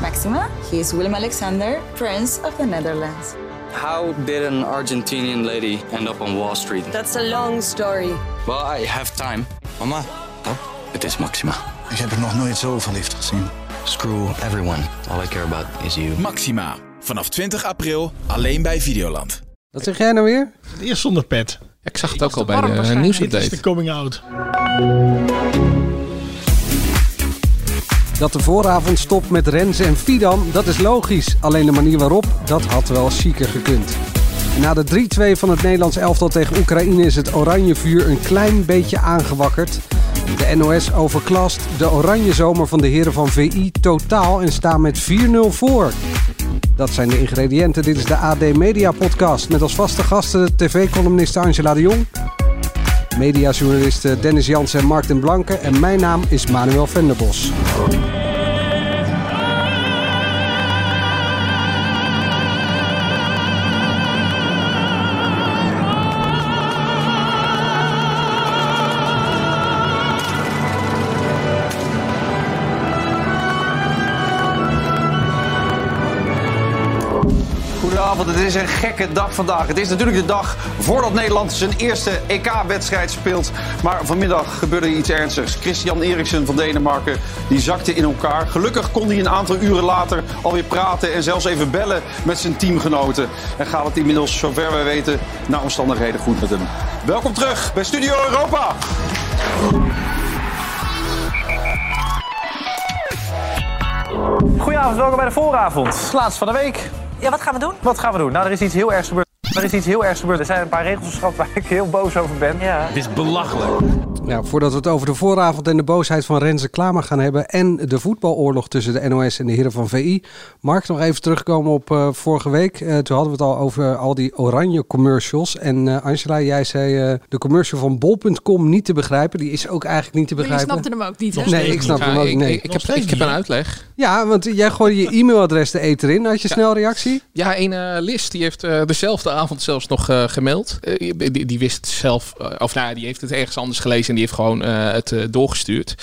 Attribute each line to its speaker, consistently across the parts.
Speaker 1: Maxima. He is Willem Alexander, Prince of the Netherlands.
Speaker 2: How did an Argentinian lady end up on Wall Street?
Speaker 3: That's a long story.
Speaker 2: Well, I have time.
Speaker 4: Mama,
Speaker 2: Het is Maxima.
Speaker 5: Ik heb er nog nooit zo verliefd gezien.
Speaker 2: Screw everyone. All I care about is you.
Speaker 6: Maxima. Vanaf 20 april alleen bij Videoland.
Speaker 7: Wat zeg jij nou weer?
Speaker 8: Eerst zonder pet.
Speaker 9: Ik zag het ook al bij de
Speaker 8: Dit is de
Speaker 9: nieuwsupdate.
Speaker 8: coming out.
Speaker 7: Dat de vooravond stopt met Rens en Fidan, dat is logisch. Alleen de manier waarop, dat had wel chiquer gekund. Na de 3-2 van het Nederlands elftal tegen Oekraïne is het Oranjevuur een klein beetje aangewakkerd. De NOS overklast de oranje zomer van de heren van VI totaal en staan met 4-0 voor. Dat zijn de ingrediënten. Dit is de AD Media Podcast met als vaste gasten de tv-columniste Angela de Jong, mediajournalisten Dennis Jansen en Martin Blanke en mijn naam is Manuel Venderbos.
Speaker 4: Goedenavond, het is een gekke dag vandaag. Het is natuurlijk de dag voordat Nederland zijn eerste EK-wedstrijd speelt. Maar vanmiddag gebeurde iets ernstigs. Christian Eriksen van Denemarken die zakte in elkaar. Gelukkig kon hij een aantal uren later alweer praten en zelfs even bellen met zijn teamgenoten. En gaat het inmiddels, zover wij weten, naar omstandigheden goed met hem. Welkom terug bij Studio Europa.
Speaker 10: Goedenavond, welkom bij de vooravond. Laatst van de week.
Speaker 3: Ja, wat gaan we doen?
Speaker 10: Wat gaan we doen? Nou, er is iets heel ergs gebeurd. Er is iets heel ergs gebeurd. Er zijn een paar regels geschrapt waar ik heel boos over ben.
Speaker 3: Ja.
Speaker 6: Het is belachelijk.
Speaker 7: Ja, Nou, voordat we het over de vooravond en de boosheid van Renze Klamer gaan hebben en de voetbaloorlog tussen de NOS en de heren van VI. Mark, nog even terugkomen op eh, vorige week. Eh, toen hadden we het al over eh, al die oranje commercials. En eh, Angela, jij zei eh, de commercial van bol.com niet te begrijpen. Die is ook eigenlijk niet te
Speaker 11: Maar je
Speaker 7: begrijpen.
Speaker 11: snapte hem ook niet, hè?
Speaker 8: Nog
Speaker 7: nee,
Speaker 8: steeds
Speaker 7: ik snap
Speaker 9: Ja,
Speaker 7: hem ook
Speaker 9: ik,
Speaker 7: nee.
Speaker 9: ik, ik
Speaker 8: Nog
Speaker 9: heb,
Speaker 8: steeds
Speaker 9: ik heb
Speaker 8: niet,
Speaker 9: een
Speaker 8: hè?
Speaker 9: uitleg.
Speaker 7: Ja, want jij gooide je e-mailadres de eter in. Had je snel reactie?
Speaker 9: Ja, een eh Lis die heeft eh, dezelfde avond zelfs nog eh, gemaild. Eh, die, die wist zelf, eh, of nou, ja, die heeft het ergens anders gelezen en die heeft gewoon eh, het eh, doorgestuurd.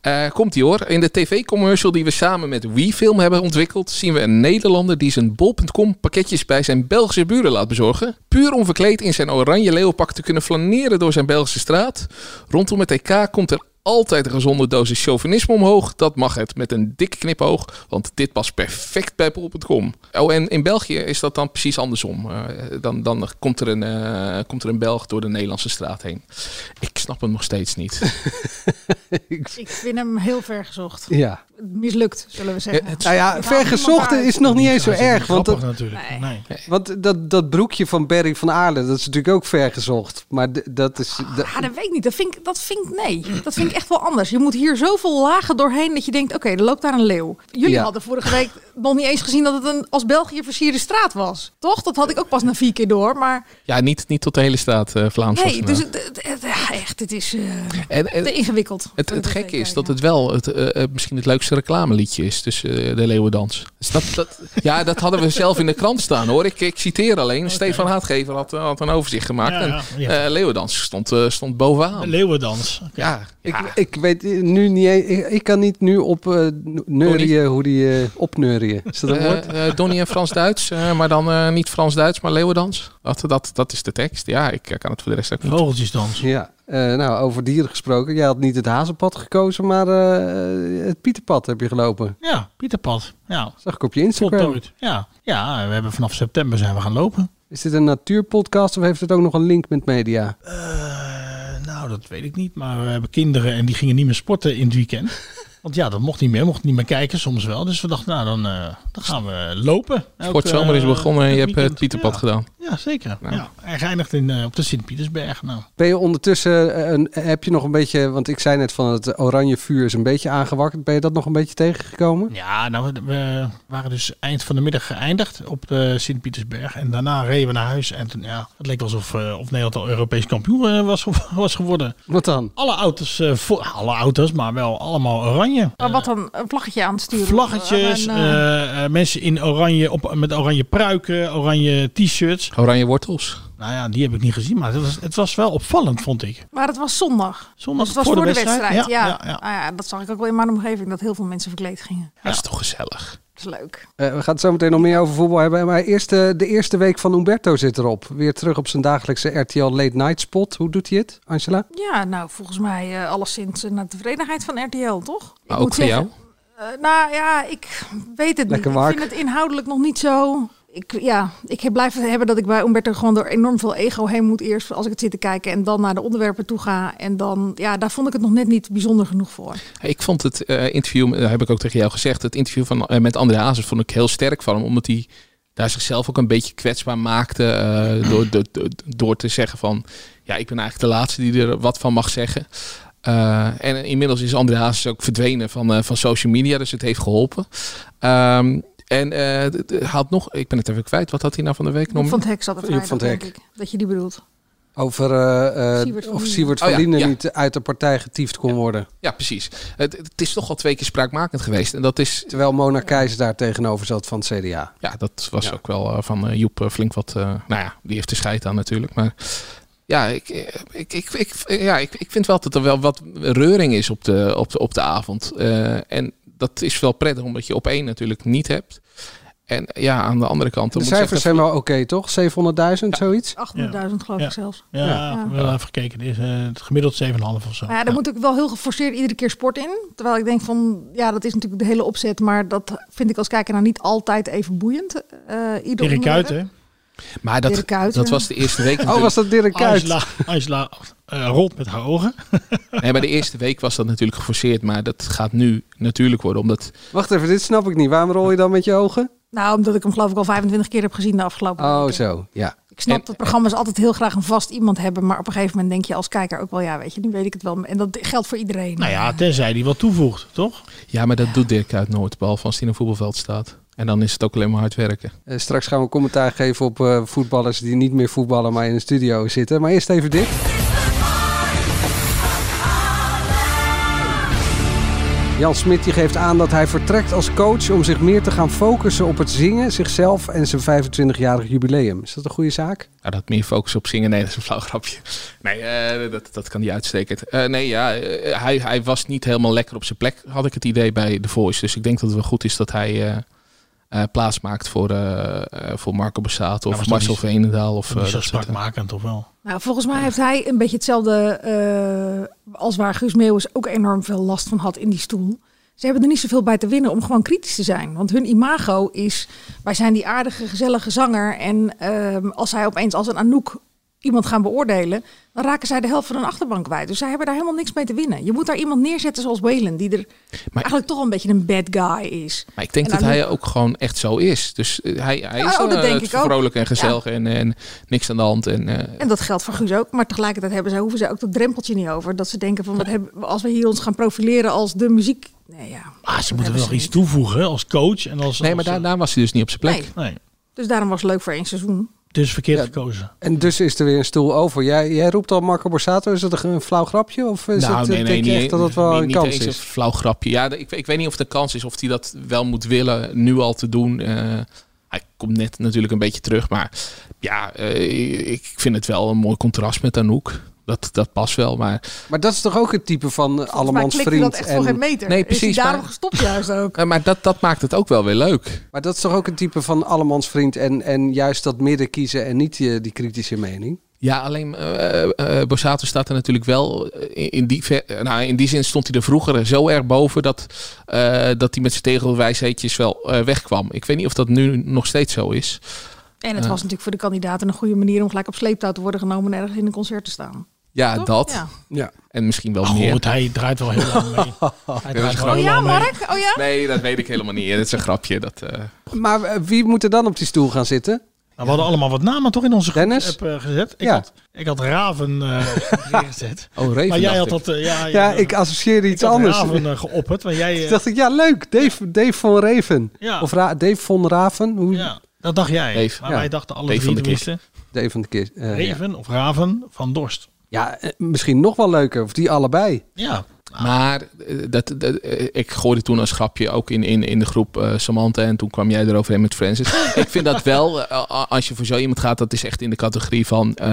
Speaker 9: Eh, komt ie hoor. In de tv-commercial die we samen met WeFilm hebben ontwikkeld, zien we een Nederlander die zijn bol.com pakketjes bij zijn Belgische buren laat bezorgen. Puur om verkleed in zijn oranje leeuwpak te kunnen flaneren door zijn Belgische straat. Rondom het EK komt er altijd een gezonde dosis chauvinisme omhoog. Dat mag het met een dikke knipoog, want dit past perfect bij bol.com. Oh, en in België is dat dan precies andersom. Eh, dan dan komt, er een, eh, komt er een Belg door de Nederlandse straat heen. Ik snap hem nog steeds niet.
Speaker 11: Ik vind hem heel ver gezocht.
Speaker 7: Ja.
Speaker 11: Mislukt, zullen we zeggen.
Speaker 9: Het-
Speaker 7: Nou ja,
Speaker 11: Ik haal
Speaker 7: vergezocht
Speaker 11: niemand uit.
Speaker 7: is nog niet eens zo
Speaker 8: Hij is ook
Speaker 7: erg.
Speaker 8: niet
Speaker 7: Want dat,
Speaker 8: grappig natuurlijk.
Speaker 11: Nee.
Speaker 8: Nee.
Speaker 7: want dat, dat broekje van Berry van Aarde, dat is natuurlijk ook vergezocht. Maar d- dat is... dat-
Speaker 11: Ja, Ah, dat weet ik niet. Dat vind ik, dat vind ik, nee. Dat vind ik echt wel anders. Je moet hier zoveel lagen doorheen dat je denkt, oké, er loopt daar een leeuw. Jullie
Speaker 7: Ja.
Speaker 11: hadden vorige week nog niet eens gezien dat het een als België versierde straat was. Toch? Dat had ik ook pas na vier keer door. Maar
Speaker 9: Ja, niet, niet tot de hele staat eh Vlaams. was
Speaker 11: nee,
Speaker 9: het
Speaker 11: dus
Speaker 9: nou.
Speaker 11: het, het- het- ja, echt, het is eh,
Speaker 9: En- en-
Speaker 11: te ingewikkeld.
Speaker 9: het, het gekke is dat het wel het, eh, eh, misschien het leukste reclameliedje is tussen eh, de Leeuwendans. Dus dat, dat, ja, dat hadden we zelf in de krant staan hoor. Ik, ik citeer alleen. Stefan Haatgever had, eh, had een overzicht gemaakt.
Speaker 8: Ja, ja,
Speaker 9: en,
Speaker 8: ja.
Speaker 9: eh, Leeuwendans stond, eh, stond bovenaan.
Speaker 8: De Leeuwendans.
Speaker 9: Ja,
Speaker 7: Ik, ik weet nu niet. e- Ik, ik kan niet nu op eh, n- neurieën hoe die eh opneurieën. Is dat een woord?
Speaker 9: Eh, eh, Donnie en Frans-Duits, eh, maar dan eh, niet Frans-Duits, maar Leeuwendans. Dat, dat, dat is de tekst. Ja, ik eh, kan het voor de rest ook niet.
Speaker 8: Oh, Vogeltjesdans.
Speaker 7: Ja. Eh, nou, over dieren gesproken. Jij had niet het hazenpad gekozen, maar eh, het pietenpad heb je gelopen.
Speaker 8: Ja, Pieterpad. Ja,
Speaker 7: Zag ik op je Instagram.
Speaker 8: voltooid. Ja. ja, we hebben vanaf september zijn we gaan lopen.
Speaker 7: Is dit een natuurpodcast of heeft het ook nog een link met media?
Speaker 8: Eh, nou, dat weet ik niet. Maar we hebben kinderen en die gingen niet meer sporten in het weekend. Want ja, dat mocht niet meer. Mocht niet meer kijken, soms wel. Dus we dachten, nou, dan, eh, dan gaan we lopen. Elk,
Speaker 9: Kort zomer is
Speaker 8: eh,
Speaker 9: begonnen en je
Speaker 8: elk
Speaker 9: hebt eh, het
Speaker 8: weekend.
Speaker 9: Pieterpad
Speaker 8: Ja.
Speaker 9: gedaan.
Speaker 8: Ja, zeker.
Speaker 9: Nou.
Speaker 8: Ja. Hij geëindigd in, eh, op de Sint-Pietersberg. Nou,
Speaker 7: Ben je ondertussen, eh, een, heb je nog een beetje, want ik zei net van het oranje vuur is een beetje aangewakkerd. Ben je dat nog een beetje tegengekomen?
Speaker 8: Ja, nou, we- we waren dus eind van de middag geëindigd op de Sint-Pietersberg. En daarna reden we naar huis. En toen, ja, het leek wel alsof eh, of Nederland al Europees kampioen eh, was, was geworden.
Speaker 7: Wat dan?
Speaker 8: Alle auto's, eh, vo- alle auto's, maar wel allemaal oranje.
Speaker 11: Maar wat dan? Een vlaggetje aan het sturen?
Speaker 8: Vlaggetjes,
Speaker 11: Aan een, eh,
Speaker 8: eh, eh, mensen in oranje, op, met oranje pruiken, oranje t-shirts.
Speaker 9: Oranje wortels.
Speaker 8: Nou ja, die heb ik niet gezien, maar het was, het was wel opvallend, vond ik.
Speaker 11: maar het was zondag.
Speaker 8: Zondag
Speaker 11: Dus het was voor de, wedstrijd. Ja,
Speaker 8: ja, ja.
Speaker 11: Ah ja, dat zag ik ook wel in mijn omgeving, dat heel veel mensen verkleed gingen.
Speaker 9: Dat is toch gezellig.
Speaker 11: Dat is leuk.
Speaker 7: Eh, we gaan het zo meteen nog meer over voetbal hebben. Maar eerst, eh, de eerste week van Umberto zit erop. Weer terug op zijn dagelijkse RTL Late Night Spot. Hoe doet hij het, Angela?
Speaker 11: Ja, nou, volgens mij eh, alleszins eh, naar tevredenheid van RTL, toch? Ik
Speaker 9: Maar
Speaker 11: moet
Speaker 9: ook voor
Speaker 11: zeggen,
Speaker 9: jou?
Speaker 11: eh, nou ja, ik weet het
Speaker 7: Lekker
Speaker 11: niet.
Speaker 7: Mark.
Speaker 11: Ik vind het inhoudelijk nog niet zo... Ik, ja, ik heb blijven hebben dat ik bij Umberto gewoon door enorm veel ego heen moet. Eerst als ik het zit te kijken en dan naar de onderwerpen toe ga. En dan, ja, daar vond ik het nog net niet bijzonder genoeg voor.
Speaker 9: Ik vond het eh, interview, eh, heb ik ook tegen jou gezegd, het interview van, eh, met André Hazes vond ik heel sterk van hem. Omdat hij daar zichzelf ook een beetje kwetsbaar maakte eh, door, door, door- door te zeggen van... Ja, ik ben eigenlijk de laatste die er wat van mag zeggen. Eh, en inmiddels is André Hazes ook verdwenen van, eh, van social media, dus het heeft geholpen. Ehm, en eh, d- d- haalt nog, ik ben het even kwijt, wat had hij nou van de week nog?
Speaker 11: Joep van het Hek zat er
Speaker 7: Joep
Speaker 11: vrijdag,
Speaker 7: van het Hek.
Speaker 11: denk ik. Dat je die bedoelt.
Speaker 7: Over eh, eh,
Speaker 11: Siewert van
Speaker 7: of
Speaker 11: Lienen.
Speaker 7: Siewert van
Speaker 9: Oh ja,
Speaker 7: Lienen
Speaker 9: ja.
Speaker 7: niet uit de partij getiefd kon worden.
Speaker 9: Ja, precies. Het, het is toch al twee keer spraakmakend geweest. En dat is,
Speaker 7: Terwijl Mona Keijs daar tegenover zat van het CDA.
Speaker 9: Ja, dat was ook wel eh, van eh, Joep eh, flink wat. eh, nou ja, die heeft de scheid aan natuurlijk. Maar ja, ik, eh, ik, ik, ik, ja, ik, ik vind wel dat er wel wat reuring is op de, op de, op de avond. Eh, en dat is wel prettig, omdat je op één natuurlijk niet hebt. En eh, ja, aan de andere kant. dan
Speaker 7: De
Speaker 9: moet ik
Speaker 7: cijfers
Speaker 9: zeggen-
Speaker 7: zijn wel oké, toch? 700.000, zoiets?
Speaker 11: 800.000 geloof
Speaker 8: Ja.
Speaker 11: ik zelfs.
Speaker 8: Ja,
Speaker 11: Ja.
Speaker 8: we hebben even gekeken. Dit is, eh, het gemiddeld 7,5 of zo.
Speaker 11: Maar Ah, ja, daar moet ik wel heel geforceerd iedere keer sport in. Terwijl ik denk van, ja, dat is natuurlijk de hele opzet. Maar dat vind ik als kijker nou niet altijd even boeiend. Eh ieder
Speaker 8: Erik
Speaker 11: onderwerp.
Speaker 8: Kuyt, hè?
Speaker 9: Maar dat,
Speaker 11: Dirk Kuyt,
Speaker 9: dat
Speaker 11: ja.
Speaker 9: was de eerste week.
Speaker 7: Oh,
Speaker 9: natuurlijk.
Speaker 7: was dat Dirk Kuyt?
Speaker 8: Angela, Angela eh, rolt met haar ogen.
Speaker 9: nee, maar de eerste week was dat natuurlijk geforceerd. Maar dat gaat nu natuurlijk worden. Omdat
Speaker 7: Wacht even, dit snap ik niet. Waarom rol je dan met je ogen?
Speaker 11: Nou, omdat ik hem geloof ik al 25 keer heb gezien de afgelopen
Speaker 7: Oh,
Speaker 11: weken.
Speaker 7: zo. Ja.
Speaker 11: Ik snap
Speaker 9: En-
Speaker 11: dat programma's altijd heel graag een vast iemand hebben. Maar op een gegeven moment denk je als kijker ook wel, ja, weet je, nu weet ik het wel. En dat geldt voor iedereen.
Speaker 8: Nou ja, tenzij die wat toevoegt, toch?
Speaker 7: eh,
Speaker 9: ja, maar dat doet Dirk uit nooit. Behalve als hij in een voetbalveld staat. En dan is het ook alleen maar hard werken.
Speaker 7: Eh, straks gaan we commentaar geven op eh, voetballers die niet meer voetballen, maar in de studio zitten. Maar eerst even dit. Jan Smit die geeft aan dat hij vertrekt als coach om zich meer te gaan focussen op het zingen, zichzelf en zijn 25-jarig jubileum. Is dat een goede zaak?
Speaker 9: Ja, Nou, dat meer focus op zingen, nee, dat is een flauw grapje. Nee, eh, dat, dat kan niet uitstekend. Eh, nee, ja, eh, hij, hij was niet helemaal lekker op zijn plek, had ik het idee bij The Voice. Dus ik denk dat het wel goed is dat hij eh, eh, plaats maakt voor, eh, eh, voor Marco Bassato
Speaker 8: Ja,
Speaker 9: of
Speaker 8: Nou, was dat
Speaker 9: Marcel
Speaker 8: niet-
Speaker 9: Veenendaal. Of,
Speaker 8: Niet
Speaker 9: eh,
Speaker 8: zo
Speaker 9: dat soort, eh.
Speaker 8: sprakmakend, toch wel?
Speaker 11: Nou, volgens mij heeft hij een beetje hetzelfde eh, als waar Guus Meeuwis ook enorm veel last van had in die stoel. Ze hebben er niet zoveel bij te winnen om gewoon kritisch te zijn. Want hun imago is, wij zijn die aardige, gezellige zanger. En ehm, als zij opeens als een Anouk iemand gaan beoordelen, dan raken zij de helft van hun achterbank kwijt. Dus zij hebben daar helemaal niks mee te winnen. Je moet daar iemand neerzetten zoals Whalen, die er eigenlijk toch een beetje een bad guy is.
Speaker 9: Maar ik denk
Speaker 11: Ah, En
Speaker 9: dat
Speaker 11: dan-
Speaker 9: hij ook gewoon echt zo is. Dus eh, hij, hij is
Speaker 11: Oh, dat
Speaker 9: gewoon, eh,
Speaker 11: denk ik ook.
Speaker 9: vrolijk en gezellig en, en niks aan de hand. En, eh,
Speaker 11: En dat geldt voor Guus ook. Maar tegelijkertijd hebben zij, hoeven zij ook dat drempeltje niet over. Dat ze denken van, wat hebben, als we hier ons gaan profileren als de muziek... Nee, ja.
Speaker 8: Maar Ah, ze
Speaker 11: dat
Speaker 8: moeten
Speaker 11: hebben
Speaker 8: wel nog iets
Speaker 11: niet.
Speaker 8: toevoegen hè, als coach. En als,
Speaker 9: nee, maar
Speaker 8: als,
Speaker 9: daar, daar was hij dus niet op zijn plek.
Speaker 11: Nee,
Speaker 8: eh, nee,
Speaker 11: dus daarom was het leuk voor één seizoen.
Speaker 8: dus verkeerd
Speaker 7: Ja.
Speaker 8: gekozen.
Speaker 7: En dus is er weer een stoel over. Jij, jij roept al Marco Borsato. Is dat een, ge- een flauw grapje? Of eh,
Speaker 9: Nou,
Speaker 7: is dat, denk je echt dat dat wel
Speaker 9: niet-
Speaker 7: een
Speaker 9: niet
Speaker 7: kans
Speaker 9: eens
Speaker 7: is?
Speaker 9: Een flauw grapje. Ja, ik, ik weet niet of de kans is of hij dat wel moet willen nu al te doen. Eh, hij komt net natuurlijk een beetje terug, maar ja, eh, ik vind het wel een mooi contrast met Anouk. Dat, dat past wel, maar
Speaker 7: Maar dat is toch ook het type van eh,
Speaker 11: Volgens mij
Speaker 7: allemans
Speaker 11: klikte dat
Speaker 7: vriend.
Speaker 11: echt voor geen
Speaker 7: En,
Speaker 11: meter.
Speaker 9: Nee,
Speaker 11: Is
Speaker 9: precies,
Speaker 11: hij daarom
Speaker 9: maar-
Speaker 11: gestopt juist ook.
Speaker 9: Eh, maar dat, dat maakt het ook wel weer leuk.
Speaker 7: maar dat is toch ook het type van allemans vriend en, en juist dat midden kiezen en niet eh, die kritische mening.
Speaker 9: Ja, alleen eh eh, Borsato staat er natuurlijk wel eh, in, in die ver- eh, nou, in die zin stond hij er vroeger zo erg boven dat, eh, dat hij met zijn tegelwijsheidjes wel eh, wegkwam. Ik weet niet of dat nu nog steeds zo is.
Speaker 11: En het was natuurlijk voor de kandidaten een goede manier... om gelijk op sleeptouw te worden genomen en ergens in een concert te staan.
Speaker 9: Ja,
Speaker 11: Toch?
Speaker 9: dat.
Speaker 11: Ja.
Speaker 7: Ja.
Speaker 9: En misschien wel
Speaker 8: Maar
Speaker 9: meer.
Speaker 8: goed, hij draait wel heel lang mee. Hij draait wel
Speaker 9: gewoon-
Speaker 11: Oh
Speaker 8: heel
Speaker 11: ja,
Speaker 8: lang mee.
Speaker 11: Mark? Oh ja?
Speaker 9: Nee, dat weet ik helemaal niet. Dat is een grapje. Dat, eh,
Speaker 7: Maar eh, wie moet er dan op die stoel gaan zitten?
Speaker 8: Nou, we hadden allemaal wat namen toch in onze
Speaker 7: Dennis?
Speaker 8: groep eh, gezet. Ik,
Speaker 7: Ja.
Speaker 8: had, ik had Raven eh, neergezet.
Speaker 9: Oh, Raven.
Speaker 8: maar jij had
Speaker 9: dacht ik.
Speaker 8: dat... eh, ja,
Speaker 7: Ja,
Speaker 8: eh,
Speaker 7: ik associeer
Speaker 8: ik
Speaker 7: iets
Speaker 8: had
Speaker 7: anders.
Speaker 8: Raven eh, geopperd. Maar jij...
Speaker 7: Toen
Speaker 8: eh,
Speaker 7: dacht ik, ja leuk, Dave, Dave van Raven.
Speaker 8: Ja.
Speaker 7: Of Ra- Dave van Raven, hoe?
Speaker 8: ja, dat dacht jij.
Speaker 9: Dave,
Speaker 8: maar
Speaker 7: ja.
Speaker 8: wij dachten alle
Speaker 9: Dave
Speaker 8: drie
Speaker 9: van de Kik.
Speaker 8: tenminste.
Speaker 7: Dave van de Kist. eh, ja.
Speaker 8: Raven of Raven van Dorst.
Speaker 7: ja, eh, misschien nog wel leuker, of die allebei.
Speaker 8: Ja,
Speaker 9: Maar eh, dat, dat, eh, ik gooide toen als grapje ook in, in, in de groep eh, Samantha. En toen kwam jij eroverheen met Francis. ik vind dat wel, eh, a- als je voor zo iemand gaat, dat is echt in de categorie van eh,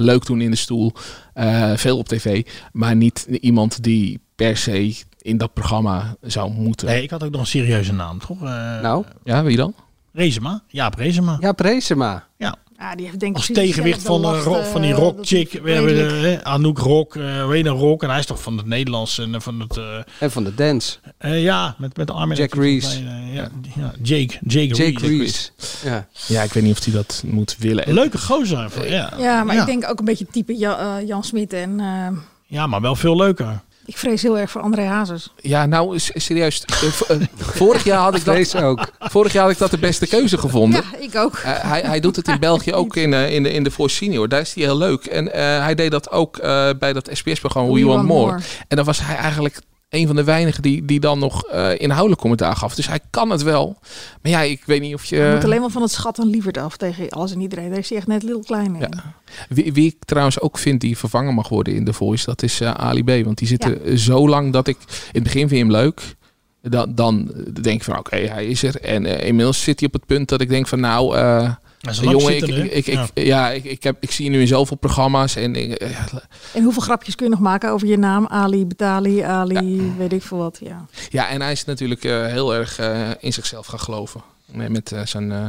Speaker 9: leuk doen in de stoel. eh, veel op tv. Maar niet iemand die per se in dat programma zou moeten.
Speaker 8: Nee, ik had ook nog een serieuze naam, toch? Eh,
Speaker 9: nou? Ja, wie dan?
Speaker 8: Rezema. Jaap Rezema.
Speaker 7: Jaap Rezema.
Speaker 8: Ja.
Speaker 11: Ja, die heeft denk ik
Speaker 8: Als
Speaker 11: precies
Speaker 8: tegenwicht van,
Speaker 11: dezelfde
Speaker 8: eh,
Speaker 11: last,
Speaker 8: rock- van die
Speaker 11: eh,
Speaker 8: rock
Speaker 11: dat
Speaker 8: chick.
Speaker 11: is
Speaker 8: We hebben
Speaker 11: redelijk.
Speaker 8: eh, Anouk Rock, eh Wena Rock. En hij is toch van het Nederlands en eh, van het... eh,
Speaker 7: En van de dance.
Speaker 8: eh, ja, met, met Armin.
Speaker 7: Jack Rees.
Speaker 8: Eh, ja, ja, Jake, Jake,
Speaker 7: Jake
Speaker 8: Rees.
Speaker 7: Rees. Ja.
Speaker 9: Ja, ik weet niet of hij dat moet willen.
Speaker 8: Leuke gozer. even, Ja.
Speaker 11: Ja, maar ik denk ook een beetje type Ja- eh, Jan Smit. En eh,
Speaker 8: ja, maar wel veel leuker.
Speaker 11: ik vrees heel erg voor André Hazes.
Speaker 9: Ja, nou s- serieus. eh, v- eh, vorig, jaar had ik dat,
Speaker 7: Vrees ook.
Speaker 9: vorig jaar had ik dat de beste keuze gevonden.
Speaker 11: Ja, ik ook.
Speaker 9: Eh, hij, hij doet het in België ook in, eh, in, de, in de Voice Senior. Daar is hij heel leuk. En eh, hij deed dat ook eh, bij dat SBS-programma We, Want, More. En dan was hij eigenlijk een van de weinigen die, die dan nog eh, inhoudelijk commentaar gaf. Dus hij kan het wel. Maar ja, ik weet niet of
Speaker 11: Je moet
Speaker 9: je...
Speaker 11: alleen maar van het schat en lieverd af tegen alles en iedereen. Daar is hij echt net heel klein in.
Speaker 9: Wie, wie ik trouwens ook vind die vervangen mag worden in de Voice, dat is eh, Ali B. Want die zit er zo lang dat ik... In het begin vind je hem leuk. Dan, dan denk ik van oké, hij is er. En eh, inmiddels zit hij op het punt dat ik denk van nou... eh,
Speaker 8: Maar zo lang
Speaker 9: Jongen, ik,
Speaker 8: zitten we,
Speaker 9: ik,
Speaker 8: hè?
Speaker 9: ik,
Speaker 8: Ja.
Speaker 9: ik- ja, ik, ik, heb, ik zie je nu in zoveel programma's. En ik- eh,
Speaker 11: En hoeveel grapjes kun je nog maken over je naam? Ali, Betali, Ali, weet ik veel wat. Ja.
Speaker 9: ja, en hij is natuurlijk eh, heel erg eh, in zichzelf gaan geloven. Met, met, eh, zijn, eh,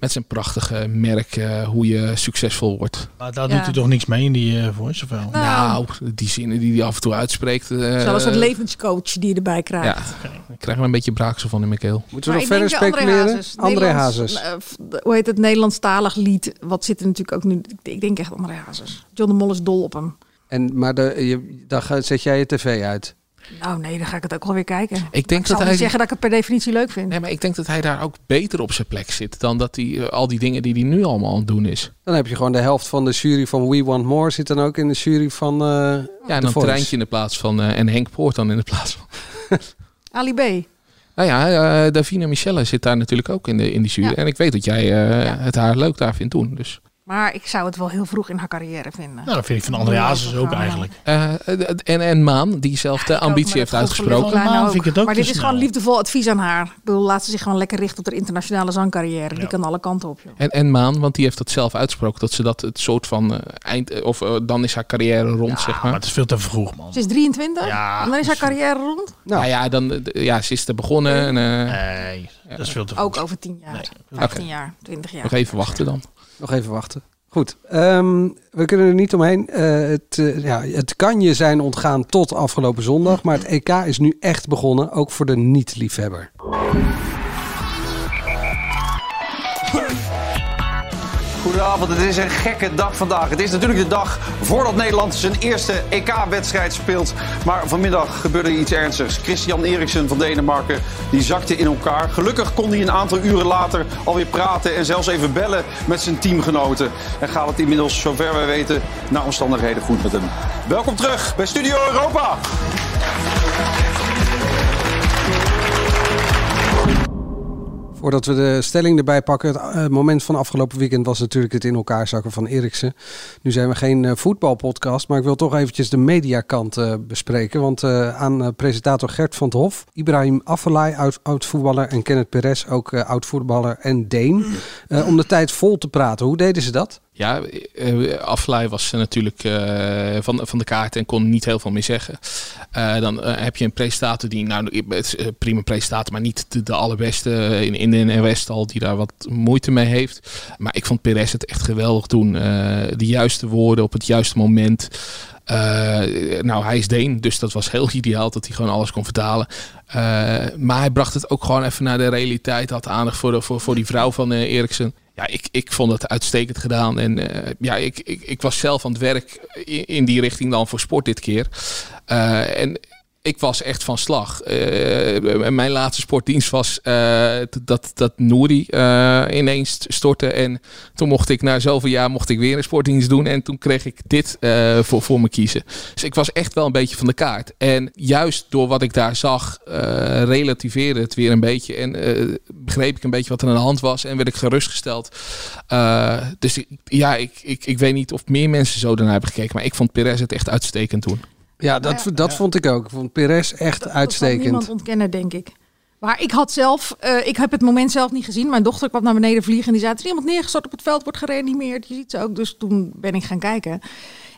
Speaker 9: met zijn prachtige merk, eh, hoe je succesvol wordt.
Speaker 8: Maar daar
Speaker 11: Ja.
Speaker 8: doet hij toch niks mee in die eh voice of wel?
Speaker 11: Nou,
Speaker 9: Nou, die zinnen die hij af en toe uitspreekt. eh,
Speaker 11: Zoals een levenscoach die je erbij krijgt.
Speaker 9: Ja, ik krijg er een beetje braaksel van in mijn keel.
Speaker 7: Moeten
Speaker 11: Maar
Speaker 7: we
Speaker 11: ik
Speaker 7: nog verder
Speaker 11: denk de
Speaker 7: speculeren? André
Speaker 11: Nederlands-
Speaker 7: Hazes.
Speaker 11: eh, f- de- hoe heet het Nederlandstalig lied? Wat zit er natuurlijk ook nu? Ik- Ik denk echt André Hazes. John de Mol is dol op hem.
Speaker 7: En, maar de, je, dan ga- zet jij je tv uit.
Speaker 11: Nou nee, dan ga ik het ook wel weer kijken. Ik,
Speaker 9: Ik denk
Speaker 11: zal
Speaker 9: dat
Speaker 11: niet
Speaker 9: hij.
Speaker 11: zeggen dat ik het per definitie leuk vind.
Speaker 9: Nee, maar ik denk dat hij daar ook beter op zijn plek zit dan dat hij eh, al die dingen die hij nu allemaal aan het doen is.
Speaker 7: Dan heb je gewoon de helft van de jury van We Want More zit dan ook in de jury van eh
Speaker 9: Ja, en
Speaker 7: The
Speaker 9: dan
Speaker 7: Voice.
Speaker 9: Treintje in de plaats van eh, en Henk Poort dan in de plaats van.
Speaker 11: Ali B.
Speaker 9: Nou ja, eh, Davina Michelle zit daar natuurlijk ook in de, in de jury.
Speaker 11: Ja.
Speaker 9: En ik weet dat jij eh, het haar leuk daar vindt doen. Dus.
Speaker 11: Maar ik zou het wel heel vroeg in haar carrière vinden.
Speaker 8: Nou, dat vind ik van André Hazes ook
Speaker 11: Ja.
Speaker 8: eigenlijk.
Speaker 9: Eh, d- en, en Maan, die zelf de
Speaker 11: Ik ook, maar
Speaker 9: ambitie
Speaker 11: dat
Speaker 9: heeft
Speaker 11: geldt voor Lil
Speaker 9: uitgesproken.
Speaker 8: Kleine
Speaker 11: Kleine
Speaker 8: Maan vind ik het ook
Speaker 11: maar dit
Speaker 8: te
Speaker 11: is
Speaker 8: snel.
Speaker 11: gewoon liefdevol advies aan haar. Ik bedoel, laat ze zich gewoon lekker richten op haar internationale zangcarrière.
Speaker 8: Ja.
Speaker 11: Die kan alle kanten op. Joh.
Speaker 9: En, en Maan, want die heeft dat zelf uitgesproken. Dat ze dat het soort van eh, eind... eh, Of eh, dan is haar carrière rond, zeg maar.
Speaker 8: Maar het is veel te vroeg, man.
Speaker 11: Ze is 23
Speaker 8: Ja.
Speaker 11: en dan is haar carrière rond.
Speaker 9: Nou ja, dan, eh, d- ja, ze is er begonnen. En, eh,
Speaker 8: Nee, dat is veel te vroeg.
Speaker 11: Ook over 10 jaar.
Speaker 9: oké.
Speaker 11: 10 jaar, 20 jaar.
Speaker 9: Nog even wachten dan.
Speaker 7: Nog even wachten. Goed, ehm, we kunnen er niet omheen. Eh, het, eh, ja, het kan je zijn ontgaan tot afgelopen zondag, maar het EK is nu echt begonnen, ook voor de niet-liefhebber.
Speaker 4: Goedenavond, het is een gekke dag vandaag. Het is natuurlijk de dag voordat Nederland zijn eerste EK-wedstrijd speelt. Maar vanmiddag gebeurde iets ernstigs. Christian Eriksen van Denemarken, die zakte in elkaar. Gelukkig kon hij een aantal uren later alweer praten en zelfs even bellen met zijn teamgenoten. En gaat het inmiddels, zover wij weten, naar omstandigheden goed met hem. Welkom terug bij Studio Europa.
Speaker 7: Voordat we de stelling erbij pakken, het eh, moment van afgelopen weekend was natuurlijk het in elkaar zakken van Eriksen. Nu zijn we geen eh, voetbalpodcast, maar ik wil toch eventjes de mediakant eh, bespreken. Want eh, aan eh, presentator Gert van het Hof, Ibrahim Afellay, oud- oud-voetballer, en Kenneth Perez, ook eh, oud-voetballer en Deen, eh, om de tijd vol te praten. Hoe deden ze dat?
Speaker 9: Ja, eh, Aflaai was eh, natuurlijk eh, van, van de kaart en kon niet heel veel meer zeggen. Eh, dan eh, heb je een presentator die, nou, het is, eh, prima presentator, maar niet de, de allerbeste eh, in, in de NOS al, die daar wat moeite mee heeft. Maar ik vond Perez het echt geweldig doen. Eh, de juiste woorden op het juiste moment. Eh, nou, hij is Deen, dus dat was heel ideaal dat hij gewoon alles kon vertalen. Eh, maar hij bracht het ook gewoon even naar de realiteit. Had aandacht voor, de- voor, voor die vrouw van eh Eriksen. Ja, ik, ik vond het uitstekend gedaan. En eh, ja, ik, ik, ik was zelf aan het werk in, in die richting dan voor sport dit keer. Eh, en ik was echt van slag. Eh, mijn laatste sportdienst was eh, dat, dat Nouri eh, ineens stortte. En toen mocht ik na zoveel jaar mocht ik weer een sportdienst doen. En toen kreeg ik dit eh, voor, voor me kiezen. Dus ik was echt wel een beetje van de kaart. En juist door wat ik daar zag, eh relativeerde het weer een beetje. En eh, begreep ik een beetje wat er aan de hand was. En werd ik gerustgesteld. Eh, dus ik- ja, ik, ik, ik weet niet of meer mensen zo daarnaar hebben gekeken. Maar ik vond Perez het echt uitstekend toen.
Speaker 7: Ja, dat, dat vond ik ook. Ik vond Perez echt
Speaker 11: Nou eh, Dat kan
Speaker 7: uitstekend.
Speaker 11: niemand ontkennen, denk ik. Maar ik had zelf, eh, ik heb het moment zelf niet gezien. Mijn dochter kwam naar beneden vliegen en die zei: Er is iemand neergestort op het veld, wordt gereanimeerd. Je ziet ze ook. Dus toen ben ik gaan kijken.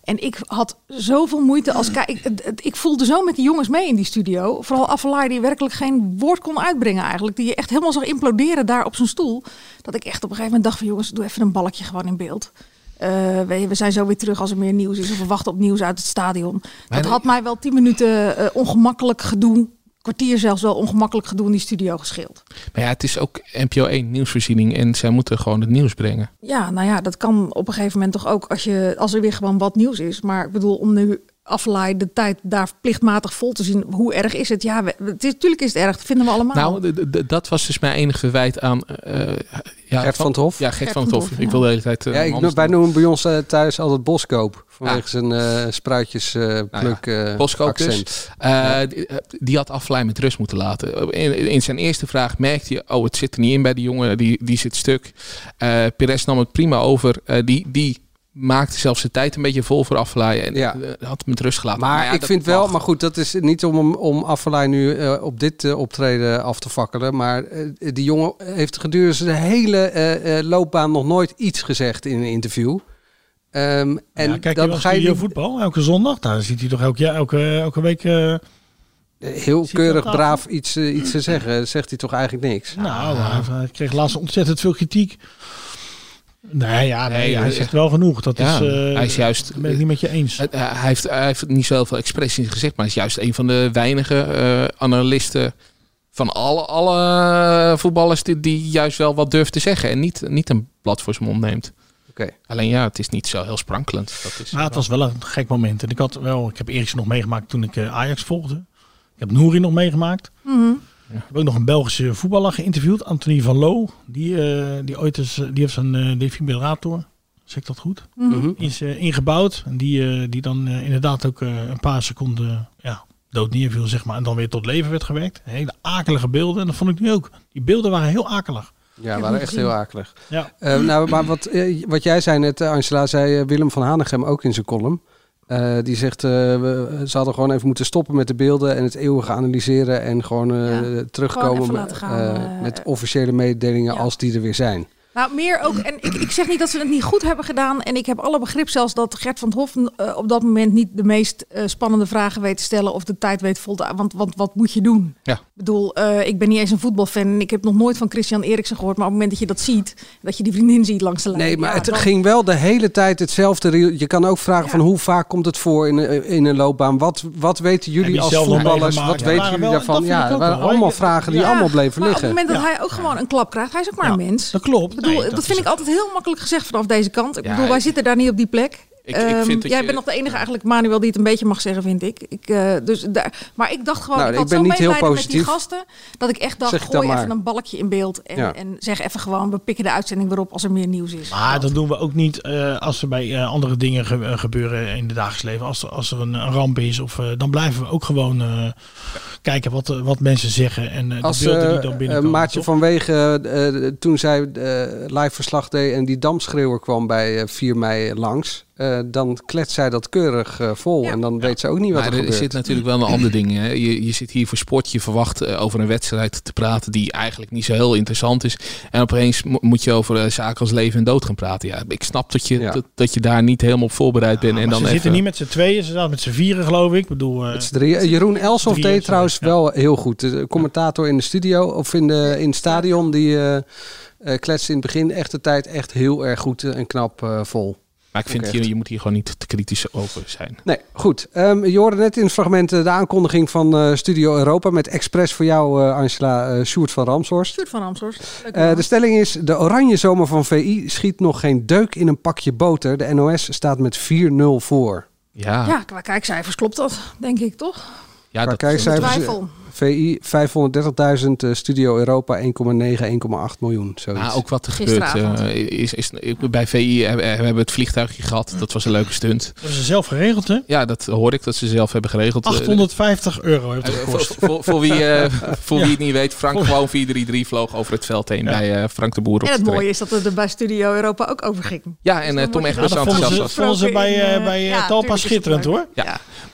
Speaker 11: En ik had zoveel moeite als kijk. Ik, het- het- ik voelde zo met die jongens mee in die studio. Vooral Afalaar die werkelijk geen woord kon uitbrengen eigenlijk. Die je echt helemaal zag imploderen daar op zijn stoel. Dat ik echt op een gegeven moment dacht van jongens, doe even een balkje gewoon in beeld. Eh, weet je, we zijn zo weer terug als er meer nieuws is. Of we wachten op nieuws uit het stadion. Dat had mij wel tien minuten eh, ongemakkelijk gedoe. Kwartier zelfs wel ongemakkelijk gedoe in die studio geschild.
Speaker 9: Maar ja, het is ook NPO 1 nieuwsvoorziening en zij moeten gewoon het nieuws brengen.
Speaker 11: Ja, nou ja, dat kan op een gegeven moment toch ook als, je, als er weer gewoon wat nieuws is. Maar ik bedoel, om nu afleid de tijd daar plichtmatig vol te zien, hoe erg is het? Ja, we- het is, tuurlijk is het erg, dat vinden we allemaal.
Speaker 9: Nou, d- d- d- dat was dus mijn enige verwijt aan... eh, ja,
Speaker 7: Gert van het Hof.
Speaker 9: Ja, Gert van het Hof. Ik wil de hele tijd... eh,
Speaker 7: ja,
Speaker 9: anders
Speaker 7: ik, wij noemen bij ons eh, thuis altijd boskoop. Vanwege
Speaker 11: Ah.
Speaker 9: Ja.
Speaker 7: zijn eh spruitjes eh pluk, eh,
Speaker 9: Boskoop dus.
Speaker 7: accent.
Speaker 9: Eh, die, eh, die had Aflaai met rust moeten laten. Eh, In, in zijn eerste vraag merkte je, oh, het zit er niet in bij die jongen, die, die zit stuk. Eh Perez nam het prima over. Eh, die, die maakte zelfs zijn tijd een beetje vol voor Aflaai en
Speaker 7: Ja.
Speaker 9: eh, had hem met rust gelaten. Nou
Speaker 7: Maar
Speaker 9: ja,
Speaker 7: ik
Speaker 9: dat
Speaker 7: vind wel,
Speaker 9: mag.
Speaker 7: maar goed, dat is niet om, hem- om Affelay nu eh, op dit eh, optreden af te fakkelen. Maar eh, die jongen heeft gedurende zijn hele eh, eh, loopbaan nog nooit iets gezegd in een interview. Ehm, en
Speaker 8: ja, kijk,
Speaker 7: dan
Speaker 8: je eh, wel
Speaker 7: ga je
Speaker 8: studio
Speaker 7: die-
Speaker 8: voetbal, elke zondag. Daar ziet hij toch elk jaar, elke, elke week... eh,
Speaker 7: Nou, heel
Speaker 8: Ziet hij
Speaker 7: keurig
Speaker 8: dat af?
Speaker 7: braaf iets, eh, iets te zeggen. Zegt hij toch eigenlijk niks?
Speaker 8: nou, hij, hij kreeg laatst ontzettend veel kritiek. Nee, ja, nee,
Speaker 9: Nee,
Speaker 8: hij
Speaker 9: eh,
Speaker 8: zegt wel genoeg. Dat
Speaker 9: Ja,
Speaker 8: is, eh,
Speaker 9: hij is juist-
Speaker 8: Dat ben ik niet met je eens.
Speaker 9: Het- eh, hij, heeft, hij heeft niet zoveel expressies gezegd, maar hij is juist een van de weinige eh, analisten van alle, alle voetballers die, die juist wel wat durft te zeggen en niet, niet een blad voor zijn mond neemt.
Speaker 7: Oké.
Speaker 9: Alleen ja, het is niet zo heel sprankelend. Dat is
Speaker 8: Maar het was wel een gek moment. En ik, had wel, ik heb Eriksen nog meegemaakt toen ik eh, Ajax volgde. Ik heb Nouri nog meegemaakt.
Speaker 11: Mhm.
Speaker 8: Ik heb ook nog een Belgische voetballer geïnterviewd. Anthony van Loo. Die, eh, die, ooit is, die heeft een eh, defibrillator. Zeg ik dat goed?
Speaker 11: Mhm.
Speaker 8: Die is eh, ingebouwd. En die, eh, die dan eh, inderdaad ook eh, een paar seconden ja, dood neerviel, zeg maar. En dan weer tot leven werd gewerkt. Hele akelige beelden. En dat vond ik nu ook. Die beelden waren heel akelig.
Speaker 7: Ja,
Speaker 11: hem
Speaker 7: waren echt
Speaker 11: gezien.
Speaker 7: heel akelig.
Speaker 8: Ja.
Speaker 7: Eh, nou, maar wat, eh, wat jij zei net, eh, Angela, zei eh, Willem van Hanegem ook in zijn column. Eh, die zegt, eh, we, ze hadden gewoon even moeten stoppen met de beelden en het eeuwige analyseren en gewoon eh, terugkomen
Speaker 11: even laten gaan,
Speaker 7: eh,
Speaker 11: eh,
Speaker 7: met officiële mededelingen
Speaker 11: ja.
Speaker 7: als die er weer zijn.
Speaker 11: Nou, meer ook. En ik, ik zeg niet dat ze het niet goed hebben gedaan. En ik heb alle begrip zelfs dat Gert van het Hof eh, op dat moment niet de meest eh, spannende vragen weet te stellen. Of de tijd weet vol te Want, want wat moet je doen?
Speaker 9: Ja.
Speaker 11: Ik bedoel, eh, ik ben niet eens een voetbalfan. en Ik heb nog nooit van Christian Eriksen gehoord. Maar op het moment dat je dat ziet, dat je die vriendin ziet langs de lijn.
Speaker 7: Nee, maar
Speaker 11: ja,
Speaker 7: het
Speaker 11: dan-
Speaker 7: ging wel de hele tijd hetzelfde. riool. Je kan ook vragen
Speaker 11: Ja.
Speaker 7: van hoe vaak komt het voor in, een- in een loopbaan? Wat, wat weten jullie
Speaker 8: die
Speaker 7: als
Speaker 8: zelf nog
Speaker 7: voetballers?
Speaker 8: meegemaakt.
Speaker 7: Wat
Speaker 8: Ja,
Speaker 7: weten
Speaker 8: waren
Speaker 7: jullie
Speaker 8: wel- dat
Speaker 7: daarvan?
Speaker 8: vind
Speaker 7: Ja,
Speaker 8: ik
Speaker 7: dat
Speaker 8: ook
Speaker 7: waren
Speaker 8: wel.
Speaker 7: allemaal
Speaker 8: Je-
Speaker 7: vragen die
Speaker 8: Ja,
Speaker 7: allemaal bleven
Speaker 11: maar op het
Speaker 7: liggen.
Speaker 11: moment dat
Speaker 8: Ja.
Speaker 11: hij ook gewoon een klap krijgt, hij is ook maar
Speaker 8: Ja,
Speaker 11: een mens.
Speaker 8: Dat klopt.
Speaker 11: Ik bedoel,
Speaker 8: Nee,
Speaker 11: dat
Speaker 8: is-
Speaker 11: vind ik altijd heel makkelijk gezegd vanaf deze kant. Ik
Speaker 9: Ja,
Speaker 11: bedoel, wij
Speaker 9: ik-
Speaker 11: zitten daar niet op die plek.
Speaker 9: Ik- ik
Speaker 11: Ehm,
Speaker 9: vind dat
Speaker 11: jij
Speaker 9: je-
Speaker 11: bent nog de enige eigenlijk, Manuel, die het een beetje mag zeggen, vind ik. ik eh, dus daar, maar ik dacht gewoon,
Speaker 7: Nou,
Speaker 11: ik
Speaker 7: ik
Speaker 11: had
Speaker 7: ben
Speaker 11: zo
Speaker 7: niet heel
Speaker 11: medelijden met die
Speaker 7: positief.
Speaker 11: gasten... dat ik echt dacht,
Speaker 7: Zeg ik dan
Speaker 11: gooi even
Speaker 7: maar.
Speaker 11: een balkje in beeld... En,
Speaker 7: Ja.
Speaker 11: en zeg even gewoon, we pikken de uitzending weer op als er meer nieuws is.
Speaker 8: Maar
Speaker 11: Dat-
Speaker 8: dat doen we ook niet eh, als er bij eh, andere dingen ge- eh, gebeuren in het dagelijks leven. Als, er- als er een, een ramp is, of, eh, dan blijven we ook gewoon eh, kijken wat, eh, wat mensen zeggen en eh,
Speaker 7: Als
Speaker 8: de beelden die
Speaker 7: eh,
Speaker 8: dan
Speaker 7: eh,
Speaker 8: binnenkomen.
Speaker 7: Maartje
Speaker 8: toch?
Speaker 7: van Wegen, eh, eh, toen zij eh, live verslag deed en die damschreeuwer kwam bij eh, 4 mei langs, eh, dan kletst zij dat keurig eh, vol.
Speaker 11: Ja.
Speaker 7: En dan weet ze ook niet wat
Speaker 9: Maar
Speaker 7: er
Speaker 9: er
Speaker 7: gebeurt.
Speaker 9: zit natuurlijk wel een ander ding. Hè. Je, je zit hier voor sport, je verwacht eh, over een wedstrijd te praten die eigenlijk niet zo heel interessant is. En opeens mo- moet je over eh, zaken als leven en dood gaan praten. Ja, ik snap dat je,
Speaker 7: Ja.
Speaker 9: dat, dat je daar niet helemaal op voorbereid bent.
Speaker 8: Ja,
Speaker 9: en
Speaker 8: maar
Speaker 9: dan
Speaker 8: ze
Speaker 9: even,
Speaker 8: zitten niet met z'n tweeën, ze zaten met z'n vieren geloof ik. ik bedoel, eh,
Speaker 7: Met z'n drieën. Eh, Jeroen Elsof
Speaker 8: drieën,
Speaker 7: deed
Speaker 8: sorry.
Speaker 7: trouwens
Speaker 8: Ja.
Speaker 7: wel heel goed. De commentator in de studio of in, de, in het stadion, die eh, eh, kletste in het begin echt de tijd echt heel erg goed eh, en knap eh, vol.
Speaker 9: maar ik vind,
Speaker 7: Ook
Speaker 9: je,
Speaker 7: echt.
Speaker 9: je moet hier gewoon niet te kritisch over zijn.
Speaker 7: Nee, goed. Ehm, je hoorde net in het fragment eh, de aankondiging van eh, Studio Europa met expres voor jou, eh, Angela, eh Sjoerd van Ramshorst.
Speaker 11: Sjoerd van Amshorst. leuk
Speaker 7: Eh,
Speaker 11: man.
Speaker 7: de stelling is: de oranje zomer van VI schiet nog geen deuk in een pakje boter. De NOS staat met 4-0 voor.
Speaker 9: Ja,
Speaker 11: Ja, qua kijkcijfers klopt dat, denk ik, toch?
Speaker 9: ja
Speaker 7: Qua
Speaker 9: dat,
Speaker 7: kijkcijfers- Cijfers,
Speaker 11: Twijfel.
Speaker 7: VI 530.000, eh, Studio Europa 1,9, 1,8 miljoen. Zoiets.
Speaker 9: Maar ook wat er gebeurt.
Speaker 11: Gisteravond.
Speaker 9: eh, is, is, ik- bij VI hebben we hebben we het vliegtuigje gehad.
Speaker 11: Hm.
Speaker 9: Dat was een leuke stunt.
Speaker 8: dat hebben ze zelf geregeld hè.
Speaker 9: Ja, dat hoor ik dat ze zelf hebben geregeld. Eh,
Speaker 8: 850 euro heeft
Speaker 9: Eh,
Speaker 8: het
Speaker 9: voor,
Speaker 8: gekost.
Speaker 9: voor, voor wie, eh, voor wie het niet weet, Frank
Speaker 8: Voor-
Speaker 9: gewoon 4-3-3 vloog over het veld heen bij eh, Frank de Boer. Op
Speaker 11: En het
Speaker 9: de
Speaker 11: mooie
Speaker 9: trek.
Speaker 11: is dat het er bij Studio Europa ook over ging.
Speaker 9: Ja, en
Speaker 11: dan
Speaker 9: eh, Tom
Speaker 11: wordt-
Speaker 9: echt
Speaker 8: Ja, dat
Speaker 9: was
Speaker 8: vonden
Speaker 9: enthousiast
Speaker 8: ze,
Speaker 9: was.
Speaker 8: vonden ze bij, eh, bij eh,
Speaker 11: Ja,
Speaker 8: Talpa
Speaker 11: tuurlijk is het
Speaker 8: schitterend
Speaker 11: leuk.
Speaker 8: hoor.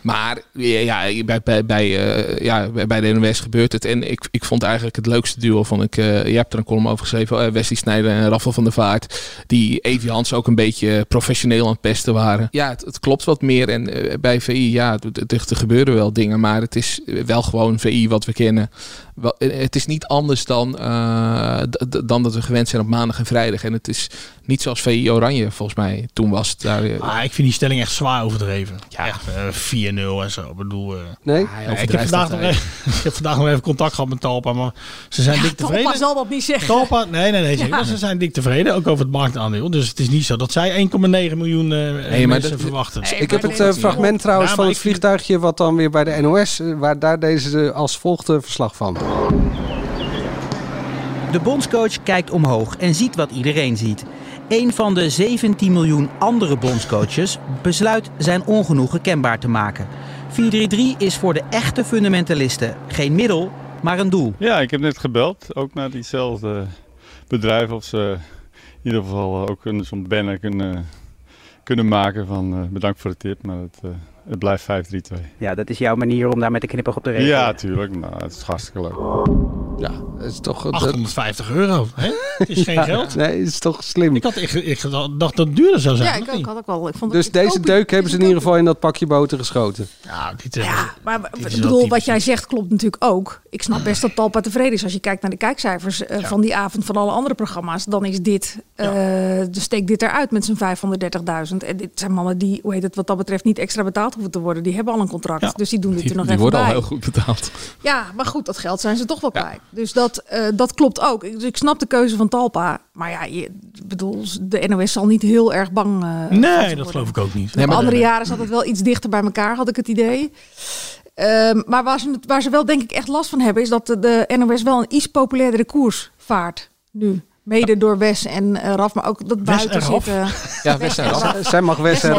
Speaker 9: Maar eh, ja, bij, bij, bij, eh, ja, bij- bij de in de West gebeurt het. En ik, ik vond eigenlijk het leukste duo. Vond ik, eh, je hebt er een column over geschreven. eh, Wesley Snijder en Raffel van der Vaart. Die Evi Hans ook een beetje professioneel aan het pesten waren. Ja, het, het klopt wat meer. En eh, bij VI, ja, d- d- d- er gebeuren wel dingen. Maar het is eh, wel gewoon VI wat we kennen. Wel, eh, het is niet anders dan, eh, d- d- dan dat we gewend zijn op maandag en vrijdag. En het is niet zoals VI Oranje volgens mij toen was. het Daar, eh,
Speaker 8: Ah, ik vind die stelling echt zwaar overdreven. Ja. Echt eh, 4-0 en zo. Ik bedoel... eh,
Speaker 7: Nee?
Speaker 8: Ja, ik, heb vandaag nog even, ik heb vandaag nog even contact gehad met Talpa, maar ze zijn dik tevreden.
Speaker 11: Talpa zal dat niet zeggen.
Speaker 8: Talpa, nee, nee, nee. zeker. Maar Ze zijn dik tevreden, ook over het marktaandeel. Dus het is niet zo dat zij 1,9 miljoen eh mensen
Speaker 9: maar dat-
Speaker 8: verwachten.
Speaker 7: Ik heb het eh,
Speaker 9: Ja.
Speaker 7: fragment trouwens
Speaker 8: Ja,
Speaker 7: van
Speaker 8: maar
Speaker 7: het
Speaker 8: ik vind-
Speaker 7: vliegtuigje wat dan weer bij de NOS, eh, waar daar deze eh, als volgt eh, verslag van.
Speaker 12: De bondscoach kijkt omhoog en ziet wat iedereen ziet. Een van de 17 miljoen andere bondscoaches besluit zijn ongenoegen kenbaar te maken. 4-3-3 is voor de echte fundamentalisten geen middel, maar een doel.
Speaker 13: Ja, ik heb net gebeld, ook naar diezelfde bedrijf, of ze in ieder geval eh, ook een- zo'n banner kunnen, kunnen maken van eh, bedankt voor de tip, maar het, eh, het blijft 5-3-2.
Speaker 10: Ja, dat is jouw manier om daar met de knipper op te reageren.
Speaker 13: Ja, tuurlijk, maar het is hartstikke leuk.
Speaker 7: Ja, het is toch...
Speaker 8: 850 euro, hè? Het is geen
Speaker 7: Ja,
Speaker 8: geld.
Speaker 7: Nee, het is toch slim.
Speaker 8: Ik, had, ik, ik dacht dat het duurder zou zijn.
Speaker 11: Ja, ik ook, had ook wel. Ik vond
Speaker 7: Dus
Speaker 11: ik
Speaker 7: deze
Speaker 11: hoop-
Speaker 7: deuk hebben ze in ieder geval in dat pakje boter geschoten.
Speaker 8: Ja, dit,
Speaker 11: Ja, maar w-
Speaker 7: is
Speaker 11: ik
Speaker 7: wel
Speaker 11: bedoel, wat
Speaker 7: typisch.
Speaker 11: jij zegt klopt natuurlijk ook. Ik snap best dat Talpa tevreden is als je kijkt naar de kijkcijfers eh, van die avond van alle andere programma's. Dan is dit, eh, dus steek dit eruit met z'n 530.000. En dit zijn mannen die, hoe heet het, wat dat betreft niet extra betaald hoeven te worden. Die hebben al een contract, dus die doen dit er nog
Speaker 9: die
Speaker 11: even
Speaker 9: worden
Speaker 11: bij.
Speaker 9: al heel goed betaald.
Speaker 11: Ja, maar goed, dat geld zijn ze toch wel kwijt. Dus dat, eh, dat klopt ook. Ik, dus ik snap de keuze van Talpa. Maar ja, je, ik bedoel, de NOS zal niet heel erg bang eh,
Speaker 8: nee, dat geloof ik ook niet.
Speaker 11: de andere jaren zat het wel iets dichter bij elkaar, had ik het idee. Ehm, maar waar ze, waar ze wel denk ik echt last van hebben, is dat de, de NOS wel een iets populairdere koers vaart nu. Mede door Wes en eh, Raf, maar ook dat buiten
Speaker 7: en Raf.
Speaker 11: zitten.
Speaker 9: Ja, Wes en Raf.
Speaker 7: Zij mag Wes en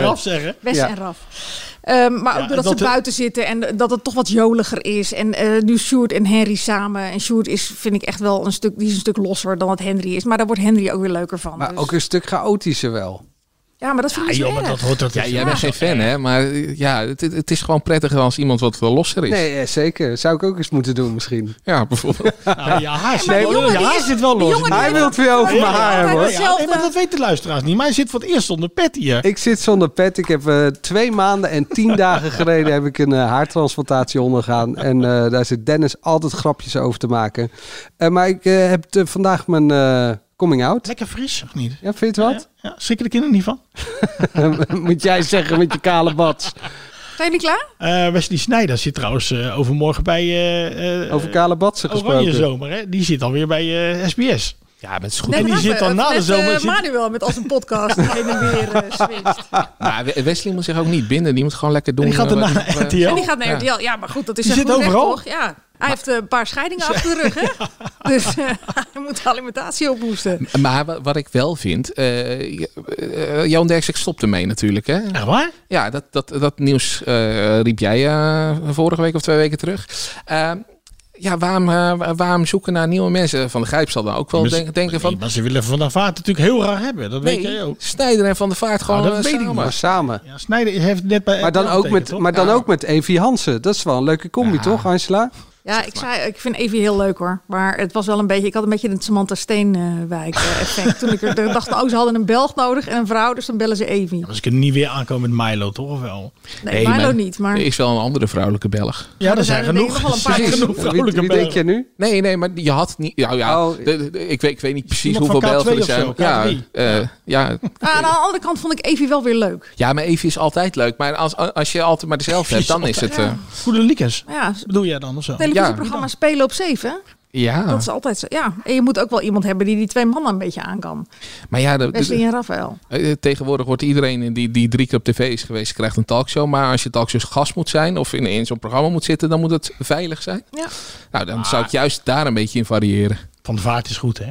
Speaker 7: Raf zeggen.
Speaker 11: Wes
Speaker 7: Ja.
Speaker 11: en Raf. Ehm, maar
Speaker 7: Ja,
Speaker 11: ook doordat
Speaker 7: dat
Speaker 11: ze
Speaker 7: de-
Speaker 11: buiten zitten en dat het toch wat joliger is. En eh, nu Sjoerd en Henry samen. En Sjoerd is, vind ik echt wel een stuk, die is een stuk losser dan wat Henry is. Maar daar wordt Henry ook weer leuker van.
Speaker 7: Maar
Speaker 11: Dus-
Speaker 7: ook een stuk chaotischer wel.
Speaker 11: ja, maar dat
Speaker 8: Ah,
Speaker 11: vind ik zo erg.
Speaker 9: ja, jij bent geen fan, hè? Maar eh, ja, het, het- het is gewoon prettiger als iemand wat wel losser is.
Speaker 7: Nee, eh, zeker. Zou ik ook eens moeten doen misschien.
Speaker 9: Ja, bijvoorbeeld.
Speaker 8: Nou, ja, haar zit,
Speaker 7: Nee,
Speaker 8: wel-
Speaker 7: maar die
Speaker 8: ja,
Speaker 7: jongen
Speaker 8: haar
Speaker 7: die-
Speaker 8: zit wel
Speaker 7: die
Speaker 8: los.
Speaker 7: jongen die Hij wil het weer over mijn haar hebben, hoor.
Speaker 8: Ja, nee, maar dat weet de luisteraars niet. Maar hij zit voor het eerst zonder pet hier.
Speaker 7: Ik zit zonder pet. Ik heb eh, twee maanden en tien dagen geleden heb ik een eh, haartransplantatie ondergaan. En eh, daar zit Dennis altijd grapjes over te maken. Eh, maar ik eh, heb eh, vandaag mijn eh, coming out.
Speaker 8: Lekker fris, of niet?
Speaker 7: Ja, vind je het wat?
Speaker 8: Ja, schrikken de kinderen niet van?
Speaker 7: Moet jij zeggen met je kale bats.
Speaker 11: Zijn jullie klaar?
Speaker 8: Eh, Wesley Snijders zit trouwens eh, overmorgen bij... eh, eh,
Speaker 7: Over kale batsen
Speaker 8: Oranje
Speaker 7: gesproken.
Speaker 8: Zomer, hè? Die zit alweer bij eh, SBS.
Speaker 9: Ja, maar het is
Speaker 11: Nee,
Speaker 8: En die
Speaker 11: maar
Speaker 8: zit dan
Speaker 11: met-
Speaker 8: na de
Speaker 11: met,
Speaker 8: zomer...
Speaker 11: eh,
Speaker 8: zit- Oh,
Speaker 11: Manuel met als een podcast heen en weer eh, switcht.
Speaker 9: Maar We- Wesley moet zich ook niet binden. Die moet gewoon lekker doen.
Speaker 8: die gaat
Speaker 9: eh,
Speaker 8: daarna
Speaker 9: wat-
Speaker 8: naar
Speaker 9: wat-
Speaker 8: RTL.
Speaker 11: En die gaat naar RTL. Ja, maar goed, dat is
Speaker 8: Die
Speaker 11: echt
Speaker 8: zit
Speaker 11: goed recht,
Speaker 8: overal.
Speaker 11: toch? Ja. Hij heeft eh, een paar scheidingen achter de rug, hè? Dus eh, hij moet alimentatie ophoesten.
Speaker 9: Maar wa- wat ik wel vind, eh, eh, eh, Johan Derksen stopt ermee natuurlijk. Hè?
Speaker 8: Echt waar?
Speaker 9: Ja, dat, dat, dat nieuws eh, riep jij eh, vorige week of twee weken terug. Eh, ja, waarom, eh, wa- waarom zoeken naar nieuwe mensen? Van de Grijp zal dan ook wel
Speaker 8: Maar ze-
Speaker 9: denk- denken van...
Speaker 8: Nee, maar ze willen Van der Vaart natuurlijk heel raar hebben. Dat weet jij ook.
Speaker 9: Snijder en Van der Vaart gewoon
Speaker 8: Ah, dat
Speaker 9: eh,
Speaker 8: weet ik
Speaker 9: samen.
Speaker 8: niet.
Speaker 7: Maar samen.
Speaker 8: Ja, Snijder heeft net bij...
Speaker 7: Maar dan,
Speaker 8: RTL
Speaker 7: ook
Speaker 8: getekend,
Speaker 7: met,
Speaker 8: toch?
Speaker 7: maar dan ook met Evi Hansen. Dat is wel een leuke combi, toch, Angela?
Speaker 11: Ja, ik, zei, ik vind Evie heel leuk hoor. Maar het was wel een beetje. Ik had een beetje het Samantha Steenwijk eh, effect. Toen ik er er dacht, oh, ze hadden een Belg nodig en een vrouw, dus dan bellen ze Evie.
Speaker 8: Maar ze kunnen niet weer aankomen met Milo, toch? Of wel?
Speaker 11: Nee, Milo
Speaker 9: maar
Speaker 11: niet, maar.
Speaker 9: Er is wel een andere vrouwelijke Belg.
Speaker 8: Ja, er
Speaker 11: er
Speaker 8: zijn
Speaker 11: zijn er denk ik
Speaker 8: genoeg.
Speaker 11: nog wel een paar.
Speaker 8: Er zijn genoeg
Speaker 7: Wie,
Speaker 8: vrouwelijke
Speaker 7: wie denk
Speaker 8: Belgen.
Speaker 7: je nu?
Speaker 9: Nee, nee, maar je had niet... Ja, ja, de- de- de- ik, weet, ik weet niet precies
Speaker 8: Oh, Iemand van
Speaker 9: hoeveel
Speaker 8: K2
Speaker 9: Belgen
Speaker 8: of
Speaker 9: er
Speaker 8: zo,
Speaker 9: zijn. ja,
Speaker 8: K3.
Speaker 9: eh, ja,
Speaker 11: Maar Nou, aan de andere kant vond ik Evie wel weer leuk.
Speaker 9: ja, maar Evie is altijd leuk. Maar als, als je altijd maar dezelfde hebt, dan is het... eh,
Speaker 8: Goede liekens.
Speaker 11: Ja,
Speaker 8: Bedoel jij dan of zo?
Speaker 11: televisieprogramma spelen op zeven. hè?
Speaker 9: ja,
Speaker 11: Dat is altijd zo. Ja, en je moet ook wel iemand hebben die die twee mannen een beetje aan kan.
Speaker 9: maar ja... de- de-
Speaker 11: Wesley en Raphaël.
Speaker 9: Eh, Tegenwoordig wordt iedereen die, die drie keer op tv is geweest, krijgt een talkshow. Maar als je talkshows gast moet zijn of in, in zo'n programma moet zitten, dan moet het veilig zijn.
Speaker 11: Ja.
Speaker 9: Nou, dan zou ik juist daar een beetje in variëren.
Speaker 8: Van de Vaart is goed, hè?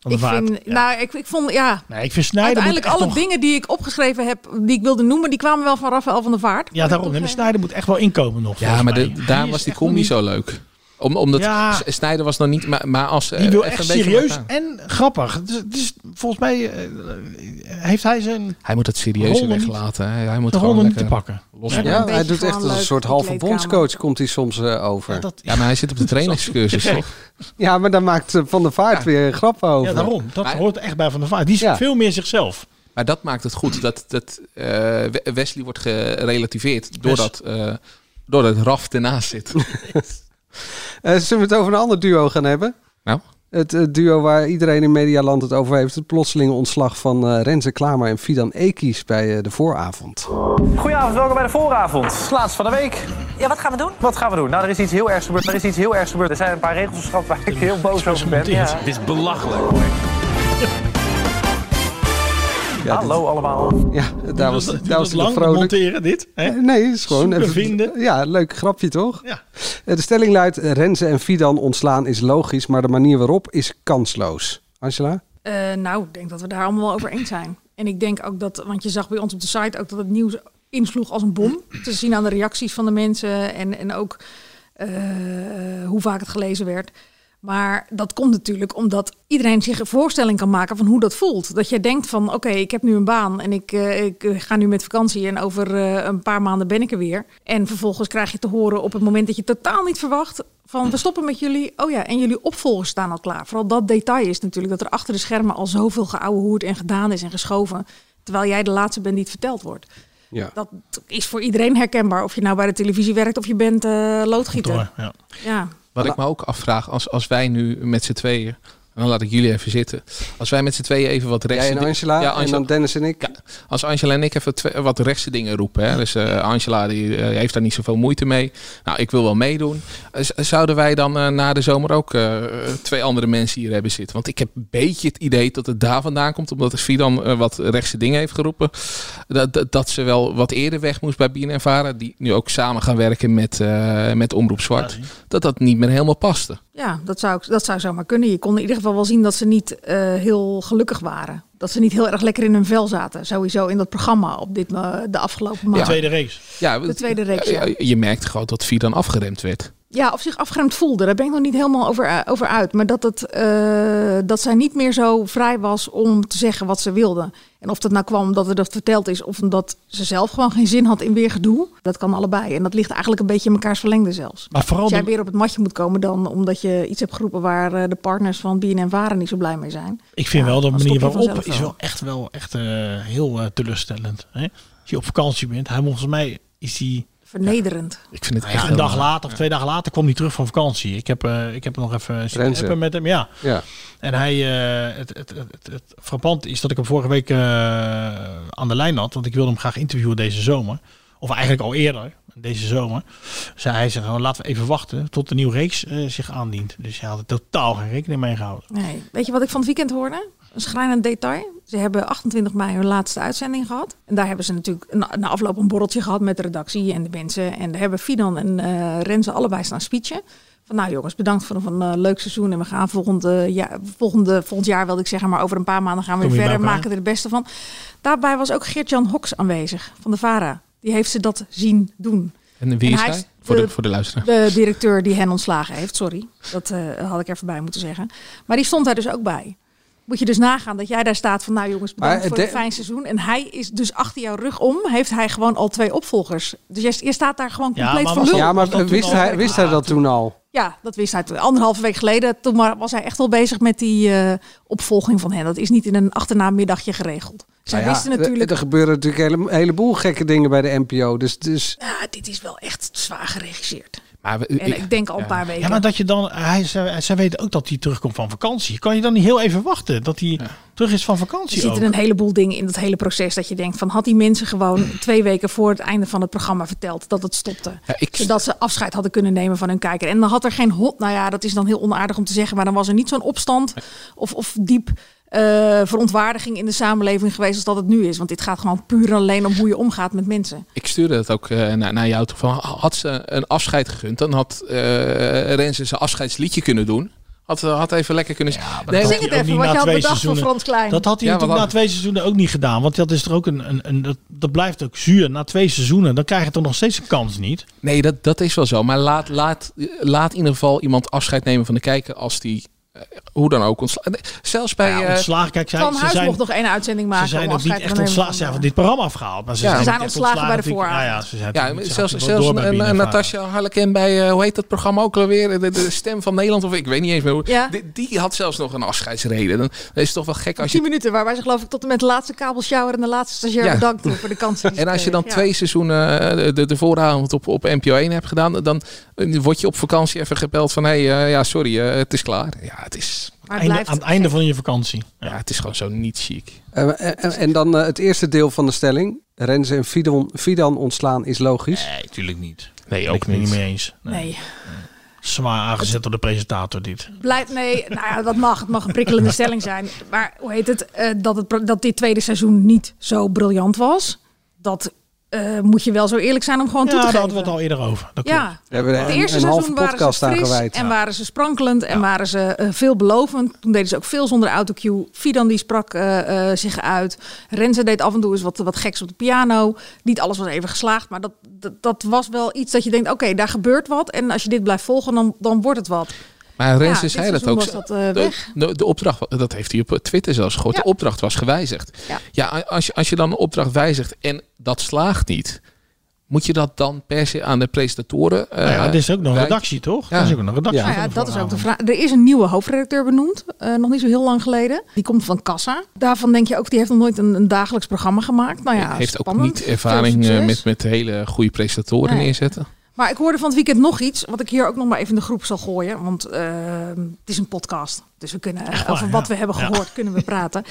Speaker 8: Van de
Speaker 11: Ik
Speaker 8: Vaart.
Speaker 11: vind, nou, ik, ik vond, ja,
Speaker 8: Nee, ik vind Snijder moet
Speaker 11: uiteindelijk
Speaker 8: echt
Speaker 11: alle
Speaker 8: nog-
Speaker 11: dingen die ik opgeschreven heb, die ik wilde noemen, die kwamen wel van Raphaël van der Vaart.
Speaker 8: Ja, daarom. Nee, maar Snijder moet echt wel inkomen nog.
Speaker 9: Ja,
Speaker 8: volgens
Speaker 9: maar de-
Speaker 8: mij.
Speaker 9: daar
Speaker 8: is
Speaker 9: was
Speaker 8: echt
Speaker 9: die
Speaker 8: nog
Speaker 9: combi
Speaker 8: niet-
Speaker 9: zo leuk. Om, omdat
Speaker 8: Ja.
Speaker 9: S- Snijder was nog niet, maar, maar als... eh,
Speaker 8: Die wil
Speaker 9: even
Speaker 8: echt
Speaker 9: een beetje
Speaker 8: serieus
Speaker 9: wat aan-
Speaker 8: en grappig. Het is, het is- volgens mij eh, heeft hij zijn
Speaker 9: Hij moet het serieus
Speaker 8: Rollen niet-
Speaker 9: weglaten. hè. Hij moet
Speaker 8: de
Speaker 9: gewoon
Speaker 8: rollen niet
Speaker 9: lekker
Speaker 8: te pakken.
Speaker 9: los-
Speaker 8: Ja,
Speaker 7: Ja,
Speaker 8: een
Speaker 7: hij
Speaker 8: beetje
Speaker 7: doet echt
Speaker 8: gewoon
Speaker 7: als een
Speaker 8: leuk
Speaker 7: soort
Speaker 8: op de
Speaker 7: halve
Speaker 8: kleedkamer.
Speaker 7: bondscoach komt hij soms eh, over. Ja,
Speaker 9: Ja, maar hij zit op de trainingscursus, toch?
Speaker 7: maar daar maakt eh, Van der Vaart weer grappen over.
Speaker 8: Ja, daarom. Dat hoort echt bij Van der Vaart. Die is veel meer zichzelf.
Speaker 9: Maar dat maakt het goed dat, dat eh, We- Wesley wordt gerelativeerd doordat, eh doordat Raf ernaast zit. Nou,
Speaker 7: Eh, zullen we het over een ander duo gaan hebben?
Speaker 9: Nou?
Speaker 7: Het eh, duo waar iedereen in Medialand het over heeft. Het plotselinge ontslag van eh Renze Klamer en Fidan Ekies bij eh, de vooravond.
Speaker 10: Goedenavond, welkom bij de vooravond. Laatste van de week. Ja, wat gaan we doen? Wat gaan we doen? Nou, er is iets heel ergs gebeurd. Er is iets heel ergs gebeurd. Er zijn een paar regels geschrapt waar ik heel boos over ben. Ja.
Speaker 14: Dit is belachelijk.
Speaker 10: Hallo allemaal.
Speaker 7: Ja, daar was,
Speaker 8: dat-
Speaker 7: daar was
Speaker 8: duurt dat
Speaker 7: hij
Speaker 8: lang,
Speaker 7: vrolijk.
Speaker 8: monteren dit? Hè?
Speaker 7: Eh, Nee, het is gewoon
Speaker 8: Zoeken,
Speaker 7: even
Speaker 8: vinden.
Speaker 7: Ja, leuk grapje toch?
Speaker 8: Ja.
Speaker 7: Eh, De stelling luidt: eh, Renze en Fidan ontslaan is logisch, maar de manier waarop is kansloos. Angela?
Speaker 11: Eh, nou, ik denk dat we daar allemaal wel over eens zijn. En ik denk ook dat, want je zag bij ons op de site ook dat het nieuws insloeg als een bom. Te zien aan de reacties van de mensen en, en ook eh, hoe vaak het gelezen werd. Maar dat komt natuurlijk omdat iedereen zich een voorstelling kan maken van hoe dat voelt. Dat jij denkt van, oké, ik heb nu een baan en ik, eh, ik eh, ga nu met vakantie en over eh, een paar maanden ben ik er weer. En vervolgens krijg je te horen op het moment dat je totaal niet verwacht van we stoppen met jullie. Oh ja, en jullie opvolgers staan al klaar. Vooral dat detail is natuurlijk dat er achter de schermen al zoveel geouwehoerd en gedaan is en geschoven. Terwijl jij de laatste bent die het verteld wordt.
Speaker 7: Ja.
Speaker 11: Dat is voor iedereen herkenbaar. Of je nou bij de televisie werkt of je bent eh, loodgieter.
Speaker 8: Ja.
Speaker 11: Ja.
Speaker 9: Wat ik me ook afvraag, als, als wij nu met z'n tweeën, en dan laat ik jullie even zitten. Als wij met z'n tweeën even wat rechts...
Speaker 7: Jij en Angela, en dan Dennis en ik.
Speaker 9: als Angela en ik even twee- wat rechtse dingen roepen. Hè? Dus eh, Angela die, eh, heeft daar niet zoveel moeite mee. Nou, ik wil wel meedoen. Eh, z- zouden wij dan eh, na de zomer ook eh, twee andere mensen hier hebben zitten? Want ik heb een beetje het idee dat het daar vandaan komt. Omdat Fidan eh, wat rechtse dingen heeft geroepen. Dat, dat, dat ze wel wat eerder weg moest bij BNN Varen. Die nu ook samen gaan werken met, eh, met Omroep Zwart. Dat dat niet meer helemaal paste.
Speaker 11: Ja, dat zou, dat zou zomaar kunnen. Je kon in ieder geval wel zien dat ze niet eh, heel gelukkig waren. Dat ze niet heel erg lekker in hun vel zaten. Sowieso in dat programma op dit, ma- de afgelopen maand.
Speaker 8: reeks.
Speaker 9: Ja,
Speaker 11: De tweede reeks, ja.
Speaker 9: Je merkte gewoon dat Fidan afgeremd werd.
Speaker 11: Ja, of zich afgeremd voelde. Daar ben ik nog niet helemaal over, eh, over uit. Maar dat, het, eh, dat zij niet meer zo vrij was om te zeggen wat ze wilde. En of dat nou kwam omdat er dat verteld is... of omdat ze zelf gewoon geen zin had in weer gedoe. Dat kan allebei. En dat ligt eigenlijk een beetje in mekaars verlengde zelfs.
Speaker 8: Maar vooral
Speaker 11: Als jij
Speaker 8: de-
Speaker 11: weer op het matje moet komen dan... omdat je iets hebt geroepen waar eh, de partners van BNN Waren niet zo blij mee zijn.
Speaker 8: Ik vind wel de
Speaker 11: dan
Speaker 8: manier
Speaker 11: stop je
Speaker 8: waarop
Speaker 11: vanzelf
Speaker 8: is
Speaker 11: wel.
Speaker 8: wel echt wel echt eh, heel eh, teleurstellend. Hè? Als je op vakantie bent, hij volgens mij is hij
Speaker 11: Vernederend.
Speaker 9: Ik vind het
Speaker 8: nou ja,
Speaker 9: echt
Speaker 8: een
Speaker 9: heel
Speaker 8: dag
Speaker 9: raar.
Speaker 8: later of twee dagen later kwam hij terug van vakantie. Ik heb, eh, ik heb nog even zitten
Speaker 7: Renze.
Speaker 8: appen met hem. Ja.
Speaker 7: Ja.
Speaker 8: En hij, eh, het, het, het, het, het frappant is dat ik hem vorige week eh, aan de lijn had. Want ik wilde hem graag interviewen deze zomer. Of eigenlijk al eerder, deze zomer. Zei hij, zei, "Nou, laten we even wachten tot de nieuwe reeks eh, zich aandient. Dus hij had er totaal geen rekening mee gehouden.
Speaker 11: Nee. Weet je wat ik van het weekend hoorde? Een schrijnend detail. Ze hebben 28 mei hun laatste uitzending gehad. En daar hebben ze natuurlijk na, na afloop een borreltje gehad met de redactie en de mensen. En daar hebben Fidan en eh Renze allebei staan speechen. Van nou jongens, bedankt voor een eh, leuk seizoen. En we gaan volgende, ja, volgende, volgend jaar, wilde ik zeggen, maar over een paar maanden gaan we
Speaker 15: Kom
Speaker 11: weer
Speaker 15: je bij
Speaker 11: verder.
Speaker 15: elkaar?
Speaker 11: Maken er het beste van. Daarbij was ook Geert-Jan Hoks aanwezig van de VARA. Die heeft ze dat zien doen.
Speaker 9: En wie
Speaker 11: En
Speaker 9: is
Speaker 11: hij
Speaker 9: hij?
Speaker 11: is
Speaker 9: Voor
Speaker 11: de-
Speaker 9: de, voor de luisteraar.
Speaker 11: De directeur die hen ontslagen heeft, sorry. Dat eh, had ik er voorbij moeten zeggen. Maar die stond daar dus ook bij. Moet je dus nagaan dat jij daar staat van... nou jongens, bedankt
Speaker 7: Maar het
Speaker 11: voor een
Speaker 7: de-
Speaker 11: fijn seizoen. En hij is dus achter jouw rug om... heeft hij gewoon al twee opvolgers. Dus je, je staat daar gewoon compleet voor lul.
Speaker 7: ja, maar eh, wist, hij, wist hij dat toen al?
Speaker 11: Ja, dat wist hij toen. Anderhalve week geleden toen maar- was hij echt wel bezig met die eh, opvolging van hen. Dat is niet in een achternamiddagje geregeld. Zij
Speaker 7: Nou ja,
Speaker 11: wisten natuurlijk...
Speaker 7: Er, er gebeuren natuurlijk een hele- heleboel gekke dingen bij de NPO. Dus, dus
Speaker 11: "Ah, dit is wel echt zwaar geregisseerd.
Speaker 9: Maar we,
Speaker 11: En ik denk al een paar weken.
Speaker 8: Ja, maar dat je dan, hij, zij, zij weten ook dat hij terugkomt van vakantie. Kan je dan niet heel even wachten dat hij terug is van vakantie?
Speaker 11: Er zitten
Speaker 8: ook?
Speaker 11: een heleboel dingen in dat hele proces dat je denkt van had die mensen gewoon twee weken voor het einde van het programma verteld dat het stopte. Zodat ze afscheid hadden kunnen nemen van hun kijker. En dan had er geen hot, nou ja, dat is dan heel onaardig om te zeggen, maar dan was er niet zo'n opstand of, of diep eh, verontwaardiging in de samenleving geweest als dat het nu is. Want dit gaat gewoon puur en alleen om hoe je omgaat met mensen.
Speaker 9: Ik stuurde het ook eh, naar, naar jou toe. Van, had ze een afscheid gegund, dan had eh Renze zijn afscheidsliedje kunnen doen. Had, eh, had even lekker kunnen zingen.
Speaker 11: dat Zing had het hij ook even, niet wat na je had twee bedacht voor seizoenen. Frans Klein.
Speaker 8: Dat had hij
Speaker 9: Ja,
Speaker 8: natuurlijk na
Speaker 9: want-
Speaker 8: twee seizoenen ook niet gedaan. Want dat is er ook een, een, een dat, dat blijft ook zuur. Na twee seizoenen, dan krijg je toch nog steeds een kans niet.
Speaker 9: Nee, dat, dat is wel zo. Maar laat, laat, laat in ieder geval iemand afscheid nemen van de kijker als die eh, hoe dan ook ontslagen. Zelfs bij...
Speaker 8: Ja,
Speaker 9: eh,
Speaker 8: ontslagen, kijk, zij-
Speaker 11: Van
Speaker 8: ze
Speaker 11: Huis
Speaker 8: zijn-
Speaker 11: mocht nog één uitzending maken.
Speaker 8: Ze zijn
Speaker 11: om
Speaker 8: nog niet
Speaker 11: afscheid
Speaker 8: echt
Speaker 11: te nemen
Speaker 8: ontslagen. Ze
Speaker 11: van-
Speaker 8: zijn van dit programma afgehaald. Maar ze
Speaker 9: Ja.
Speaker 8: zijn,
Speaker 9: Ze
Speaker 8: nog
Speaker 11: zijn
Speaker 8: niet echt
Speaker 11: ontslagen bij de
Speaker 8: natuurlijk.
Speaker 11: vooravond.
Speaker 8: Ja, ja, ze zijn
Speaker 9: Ja,
Speaker 8: natuurlijk- ze
Speaker 9: zelfs,
Speaker 8: gaan
Speaker 9: zelfs
Speaker 8: door bij
Speaker 9: een, een,
Speaker 8: BNNVARA.
Speaker 9: een Natasja Harleken bij, eh, hoe heet dat programma ook alweer? De, de stem van Nederland, of ik weet niet eens meer hoe.
Speaker 11: Ja.
Speaker 9: Die, die had zelfs nog een afscheidsreden. Dan is het toch wel gek als je
Speaker 11: 10 minuten, waarbij ze geloof ik tot en met de laatste kabelshower en de laatste stagiair
Speaker 9: Ja.
Speaker 11: bedankt doen voor de kansen. die ze
Speaker 9: En als je dan
Speaker 11: kregen. Ja.
Speaker 9: twee seizoenen eh, de, de vooravond op, op NPO 1 hebt gedaan, dan eh, word je op vakantie even gebeld van hé, hey, eh, ja, sorry, eh, het is klaar. Ja, het is.
Speaker 11: Maar het blijft-
Speaker 8: aan het einde van je vakantie.
Speaker 9: Ja, het is gewoon zo niet chic.
Speaker 7: En, en, en dan eh, het eerste deel van de stelling. Renze en Fidan, Fidan ontslaan is logisch.
Speaker 11: Eh,
Speaker 8: Nee, tuurlijk niet.
Speaker 9: Nee,
Speaker 8: ook niet. niet mee eens.
Speaker 11: Nee.
Speaker 8: Zwaar aangezet door de presentator dit.
Speaker 11: Blijft, nee, nou ja, dat mag. Het mag een prikkelende stelling zijn. Maar hoe heet het? eh, dat, het pro- dat dit tweede seizoen niet zo briljant was. Dat eh, moet je wel zo eerlijk zijn om gewoon
Speaker 8: Ja,
Speaker 11: toe te
Speaker 8: daar
Speaker 11: geven.
Speaker 8: hadden we het al eerder over. Dat
Speaker 11: eh, Ja.
Speaker 8: klopt.
Speaker 7: We hebben er
Speaker 11: Het
Speaker 7: een,
Speaker 11: eerste
Speaker 7: een halve
Speaker 11: seizoen waren
Speaker 7: podcast
Speaker 11: ze
Speaker 7: aan
Speaker 11: fris
Speaker 7: gewijd.
Speaker 11: en waren ze sprankelend en waren ze eh, veelbelovend. Toen deden ze ook veel zonder autocue. Fidan die sprak eh, eh, zich uit. Renze deed af en toe eens wat, wat geks op de piano. Niet alles was even geslaagd, maar dat, dat, dat was wel iets dat je denkt... oké, daar gebeurt wat en als je dit blijft volgen, dan, dan wordt het wat.
Speaker 9: Maar Renze
Speaker 11: dit
Speaker 9: zei dat
Speaker 11: seizoen was
Speaker 9: ook.
Speaker 11: dat, eh,
Speaker 9: de,
Speaker 11: weg.
Speaker 9: de, de opdracht, wa- dat heeft hij op Twitter zelfs gehoord.
Speaker 11: Ja.
Speaker 9: De opdracht was gewijzigd. Ja,
Speaker 11: Ja.
Speaker 9: als, je, als je dan een opdracht wijzigt en dat slaagt niet, moet je dat dan per se aan de presentatoren. eh,
Speaker 8: Nou ja, dit is ook nog een
Speaker 9: wijzen?
Speaker 8: redactie, toch?
Speaker 9: Ja.
Speaker 8: Dat is ook nog een redactie.
Speaker 11: Nou ja,
Speaker 8: van de
Speaker 11: dat is ook de
Speaker 8: vooravond.
Speaker 11: vraag. Er is een nieuwe hoofdredacteur benoemd, eh, nog niet zo heel lang geleden. Die komt van Kassa. Daarvan denk je ook, die heeft nog nooit een, een dagelijks programma gemaakt. Nou ja,
Speaker 9: heeft ook
Speaker 11: spannend.
Speaker 9: niet ervaring
Speaker 11: Veel
Speaker 9: eh,
Speaker 11: succes.
Speaker 9: met, met hele goede presentatoren
Speaker 11: Nee.
Speaker 9: neerzetten.
Speaker 11: Maar ik hoorde van het weekend nog iets, wat ik hier ook nog maar even in de groep zal gooien. Want ehm, het is een podcast. Dus we kunnen
Speaker 8: Echt waar,
Speaker 11: over wat
Speaker 8: ja.
Speaker 11: we hebben
Speaker 8: Ja.
Speaker 11: gehoord, kunnen we praten.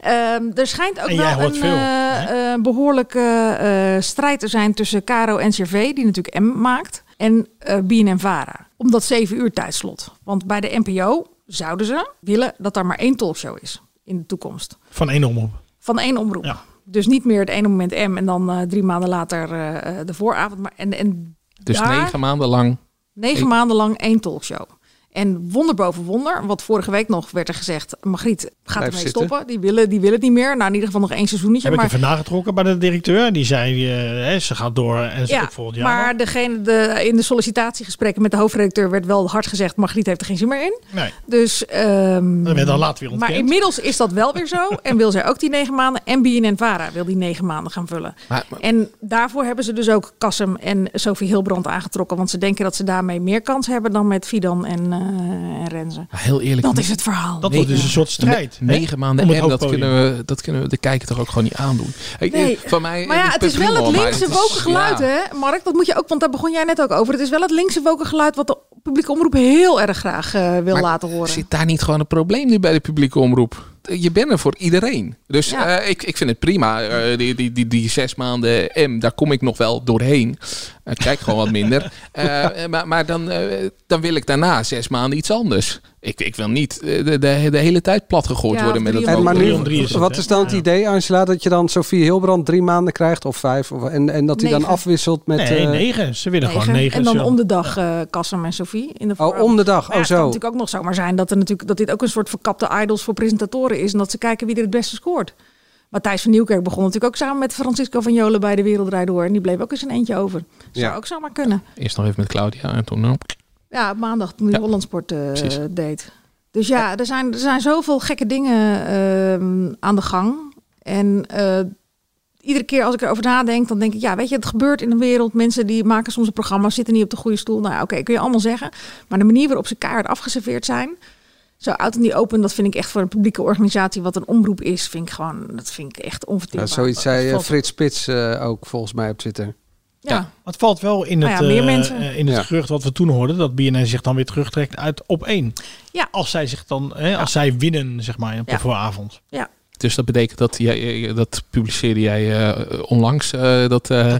Speaker 11: Ehm, er schijnt ook
Speaker 8: En jij
Speaker 11: wel
Speaker 8: hoort
Speaker 11: een
Speaker 8: veel,
Speaker 11: eh, eh, behoorlijke eh, strijd te zijn tussen Caro en Cervé, die natuurlijk M maakt, en eh BNN Vara. Om dat 7 uur tijdslot. Want bij de NPO zouden ze willen dat er maar één talkshow is in de toekomst.
Speaker 8: Van één omroep.
Speaker 11: Van één omroep.
Speaker 8: Ja.
Speaker 11: Dus niet meer het ene moment M en dan eh, drie maanden later eh, eh, de vooravond. Maar, en, en
Speaker 9: Dus
Speaker 11: daar-
Speaker 9: negen maanden lang.
Speaker 11: Negen
Speaker 9: Ik-
Speaker 11: maanden lang één talkshow. En wonder boven wonder, wat vorige week nog werd er gezegd... Margriet gaat
Speaker 9: Blijf
Speaker 11: ermee
Speaker 9: zitten.
Speaker 11: stoppen, die willen, die willen het niet meer. Nou, in ieder geval nog één seizoennetje.
Speaker 8: Heb ik
Speaker 11: maar
Speaker 8: even nagetrokken bij de directeur. Die zei, eh, hè, ze gaat door en ze
Speaker 11: ja,
Speaker 8: op volgend jaar.
Speaker 11: maar degene de, in de sollicitatiegesprekken met de hoofdredacteur... werd wel hard gezegd, Margriet heeft er geen zin meer in.
Speaker 8: nee,
Speaker 11: Dus, ehm,
Speaker 8: dat werd dan later weer
Speaker 11: maar
Speaker 8: ontkend.
Speaker 11: inmiddels is dat wel weer zo. en wil zij ook die negen maanden. En BNN Vara wil die negen maanden gaan vullen.
Speaker 9: Maar, maar-
Speaker 11: En daarvoor hebben ze dus ook Kassem en Sophie Hilbrand aangetrokken. Want ze denken dat ze daarmee meer kans hebben dan met Fidan en, eh, en Renze.
Speaker 9: maar heel eerlijk.
Speaker 11: Dat is het verhaal.
Speaker 8: dat wordt dus een soort strijd.
Speaker 9: Ne- negen maanden
Speaker 8: Om het
Speaker 9: en dat
Speaker 8: hoofdpodium.
Speaker 9: kunnen, we, dat kunnen we de kijker toch ook gewoon niet aandoen. Ik-
Speaker 11: Nee.
Speaker 9: Van mij, eh,
Speaker 11: Maar ja, het is wel het linkse woken
Speaker 9: woken
Speaker 8: Ah.
Speaker 11: geluid, hè, Eh, Mark? Dat moet je ook, want daar begon jij net ook over. Het is wel het linkse woken geluid wat de publieke omroep heel erg graag eh, wil
Speaker 9: Maar
Speaker 11: laten horen.
Speaker 9: Zit daar niet gewoon een probleem nu bij de publieke omroep? Je bent er voor iedereen. Dus
Speaker 11: Ja.
Speaker 9: eh, ik, ik vind het prima. Eh, die, die, die, die zes maanden M, daar kom ik nog wel doorheen. Eh, kijk gewoon wat minder. Eh, eh, maar maar dan, eh, dan wil ik daarna zes maanden iets anders. Ik, ik wil niet eh, de, de, de hele tijd plat gegooid
Speaker 11: Ja,
Speaker 9: worden met
Speaker 11: drie
Speaker 9: het
Speaker 11: om
Speaker 7: En maar
Speaker 8: Drie
Speaker 7: nu,
Speaker 8: om drie is het,
Speaker 7: wat
Speaker 8: hè?
Speaker 7: is dan het
Speaker 8: Ja.
Speaker 7: idee, Angela, dat je dan Sofie Hilbrand drie maanden krijgt of vijf? Of, en, en dat hij dan
Speaker 11: Negen.
Speaker 7: afwisselt met...
Speaker 8: Nee,
Speaker 7: eh,
Speaker 8: negen. Ze willen
Speaker 11: Negen.
Speaker 8: gewoon negen.
Speaker 11: en dan
Speaker 8: zo.
Speaker 11: om de dag eh Kassem en Sophie. In de
Speaker 7: Oh,
Speaker 11: vooravond.
Speaker 7: om de dag.
Speaker 11: Maar
Speaker 7: Oh,
Speaker 11: ja, Het kan
Speaker 7: zo.
Speaker 11: natuurlijk ook nog zomaar zijn dat, er natuurlijk, dat dit ook een soort verkapte idols voor presentatoren is. En dat ze kijken wie er het beste scoort. Matthijs van Nieuwkerk begon natuurlijk ook samen met Francisco van Jolen bij de Wereld Draait Door. En die bleef ook eens een eentje over. Zou
Speaker 7: Ja.
Speaker 11: ook zomaar kunnen.
Speaker 9: Eerst nog even met Claudia en toen... eh,
Speaker 11: Ja, op maandag toen die
Speaker 9: Ja,
Speaker 11: Hollandsport eh,
Speaker 9: precies.
Speaker 11: deed. Dus ja, er zijn, er zijn zoveel gekke dingen ehm, aan de gang. En eh, iedere keer als ik erover nadenk, dan denk ik... ja, weet je, het gebeurt in de wereld. Mensen die maken soms een programma, zitten niet op de goede stoel. Nou ja, oké, kun je allemaal zeggen. Maar de manier waarop ze keihard afgeserveerd zijn... zo out in die open, dat vind ik echt voor een publieke organisatie... wat een omroep is, vind ik gewoon... dat vind ik echt
Speaker 7: ja,
Speaker 11: onverteerbaar.
Speaker 7: zoiets zei eh,
Speaker 8: valt-
Speaker 7: Frits Spits eh, ook volgens mij op Twitter.
Speaker 11: ja.
Speaker 8: Maar het valt wel in
Speaker 11: Nou
Speaker 8: het,
Speaker 11: ja, meer
Speaker 8: eh,
Speaker 11: mensen.
Speaker 8: eh, in het
Speaker 7: Ja.
Speaker 8: gerucht wat we toen hoorden. Dat BNN zich dan weer terugtrekt uit op één.
Speaker 11: Ja.
Speaker 8: Als zij zich dan, hè, als zij winnen, zeg maar, op de
Speaker 11: Ja.
Speaker 8: vooravond.
Speaker 9: Dus dat betekent dat jij, eh, dat publiceerde jij eh, onlangs, eh, dat, eh,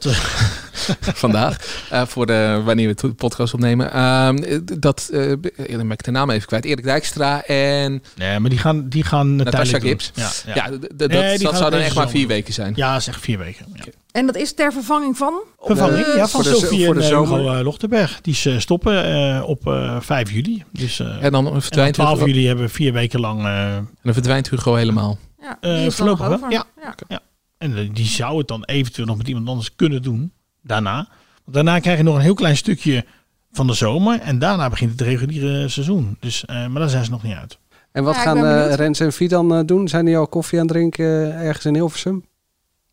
Speaker 9: vandaag, eh, voor de, wanneer we de podcast opnemen. Ehm, dat, eh, dan ben ik de naam even kwijt, Erik Dijkstra en
Speaker 8: Nee, maar die gaan, die gaan eh,
Speaker 9: Natasha
Speaker 8: tijdelijk doen.
Speaker 9: Gibbs. Ja,
Speaker 8: Ja, ja.
Speaker 9: d- d- dat-
Speaker 8: die gaan
Speaker 9: dat
Speaker 8: het
Speaker 9: zou dan
Speaker 8: deze
Speaker 9: echt maar
Speaker 8: zomer
Speaker 9: vier
Speaker 8: doen.
Speaker 9: weken zijn.
Speaker 8: ja zeg vier weken. Ja.
Speaker 11: En dat is ter vervanging van...
Speaker 8: Vervanging ja, van
Speaker 7: eh, voor de-
Speaker 8: Sophie
Speaker 7: voor de
Speaker 8: en eh,
Speaker 7: zomer.
Speaker 8: Hugo eh, Lochtenberg. Die ze stoppen eh, op eh, 5 juli. Dus, eh,
Speaker 9: En dan
Speaker 8: en dan
Speaker 9: verdwijnt,
Speaker 8: 12
Speaker 9: Hugo, en
Speaker 8: juli hebben we vier weken lang... eh,
Speaker 9: dan verdwijnt Hugo helemaal.
Speaker 11: Ja,
Speaker 8: Eh,
Speaker 11: die is dan nog
Speaker 8: voorlopig wel,
Speaker 11: over.
Speaker 8: ja.
Speaker 11: ja.
Speaker 8: en eh, die zou het dan eventueel nog met iemand anders kunnen doen. Daarna. Want daarna krijg je nog een heel klein stukje van de zomer. En daarna begint het reguliere seizoen. Dus, eh, maar daar zijn ze nog niet uit.
Speaker 7: En wat
Speaker 11: Ja, ik
Speaker 7: gaan
Speaker 11: ben
Speaker 7: eh,
Speaker 11: benieuwd.
Speaker 7: Rens en Fidan eh, doen? Zijn die al koffie aan het drinken eh, ergens in Hilversum?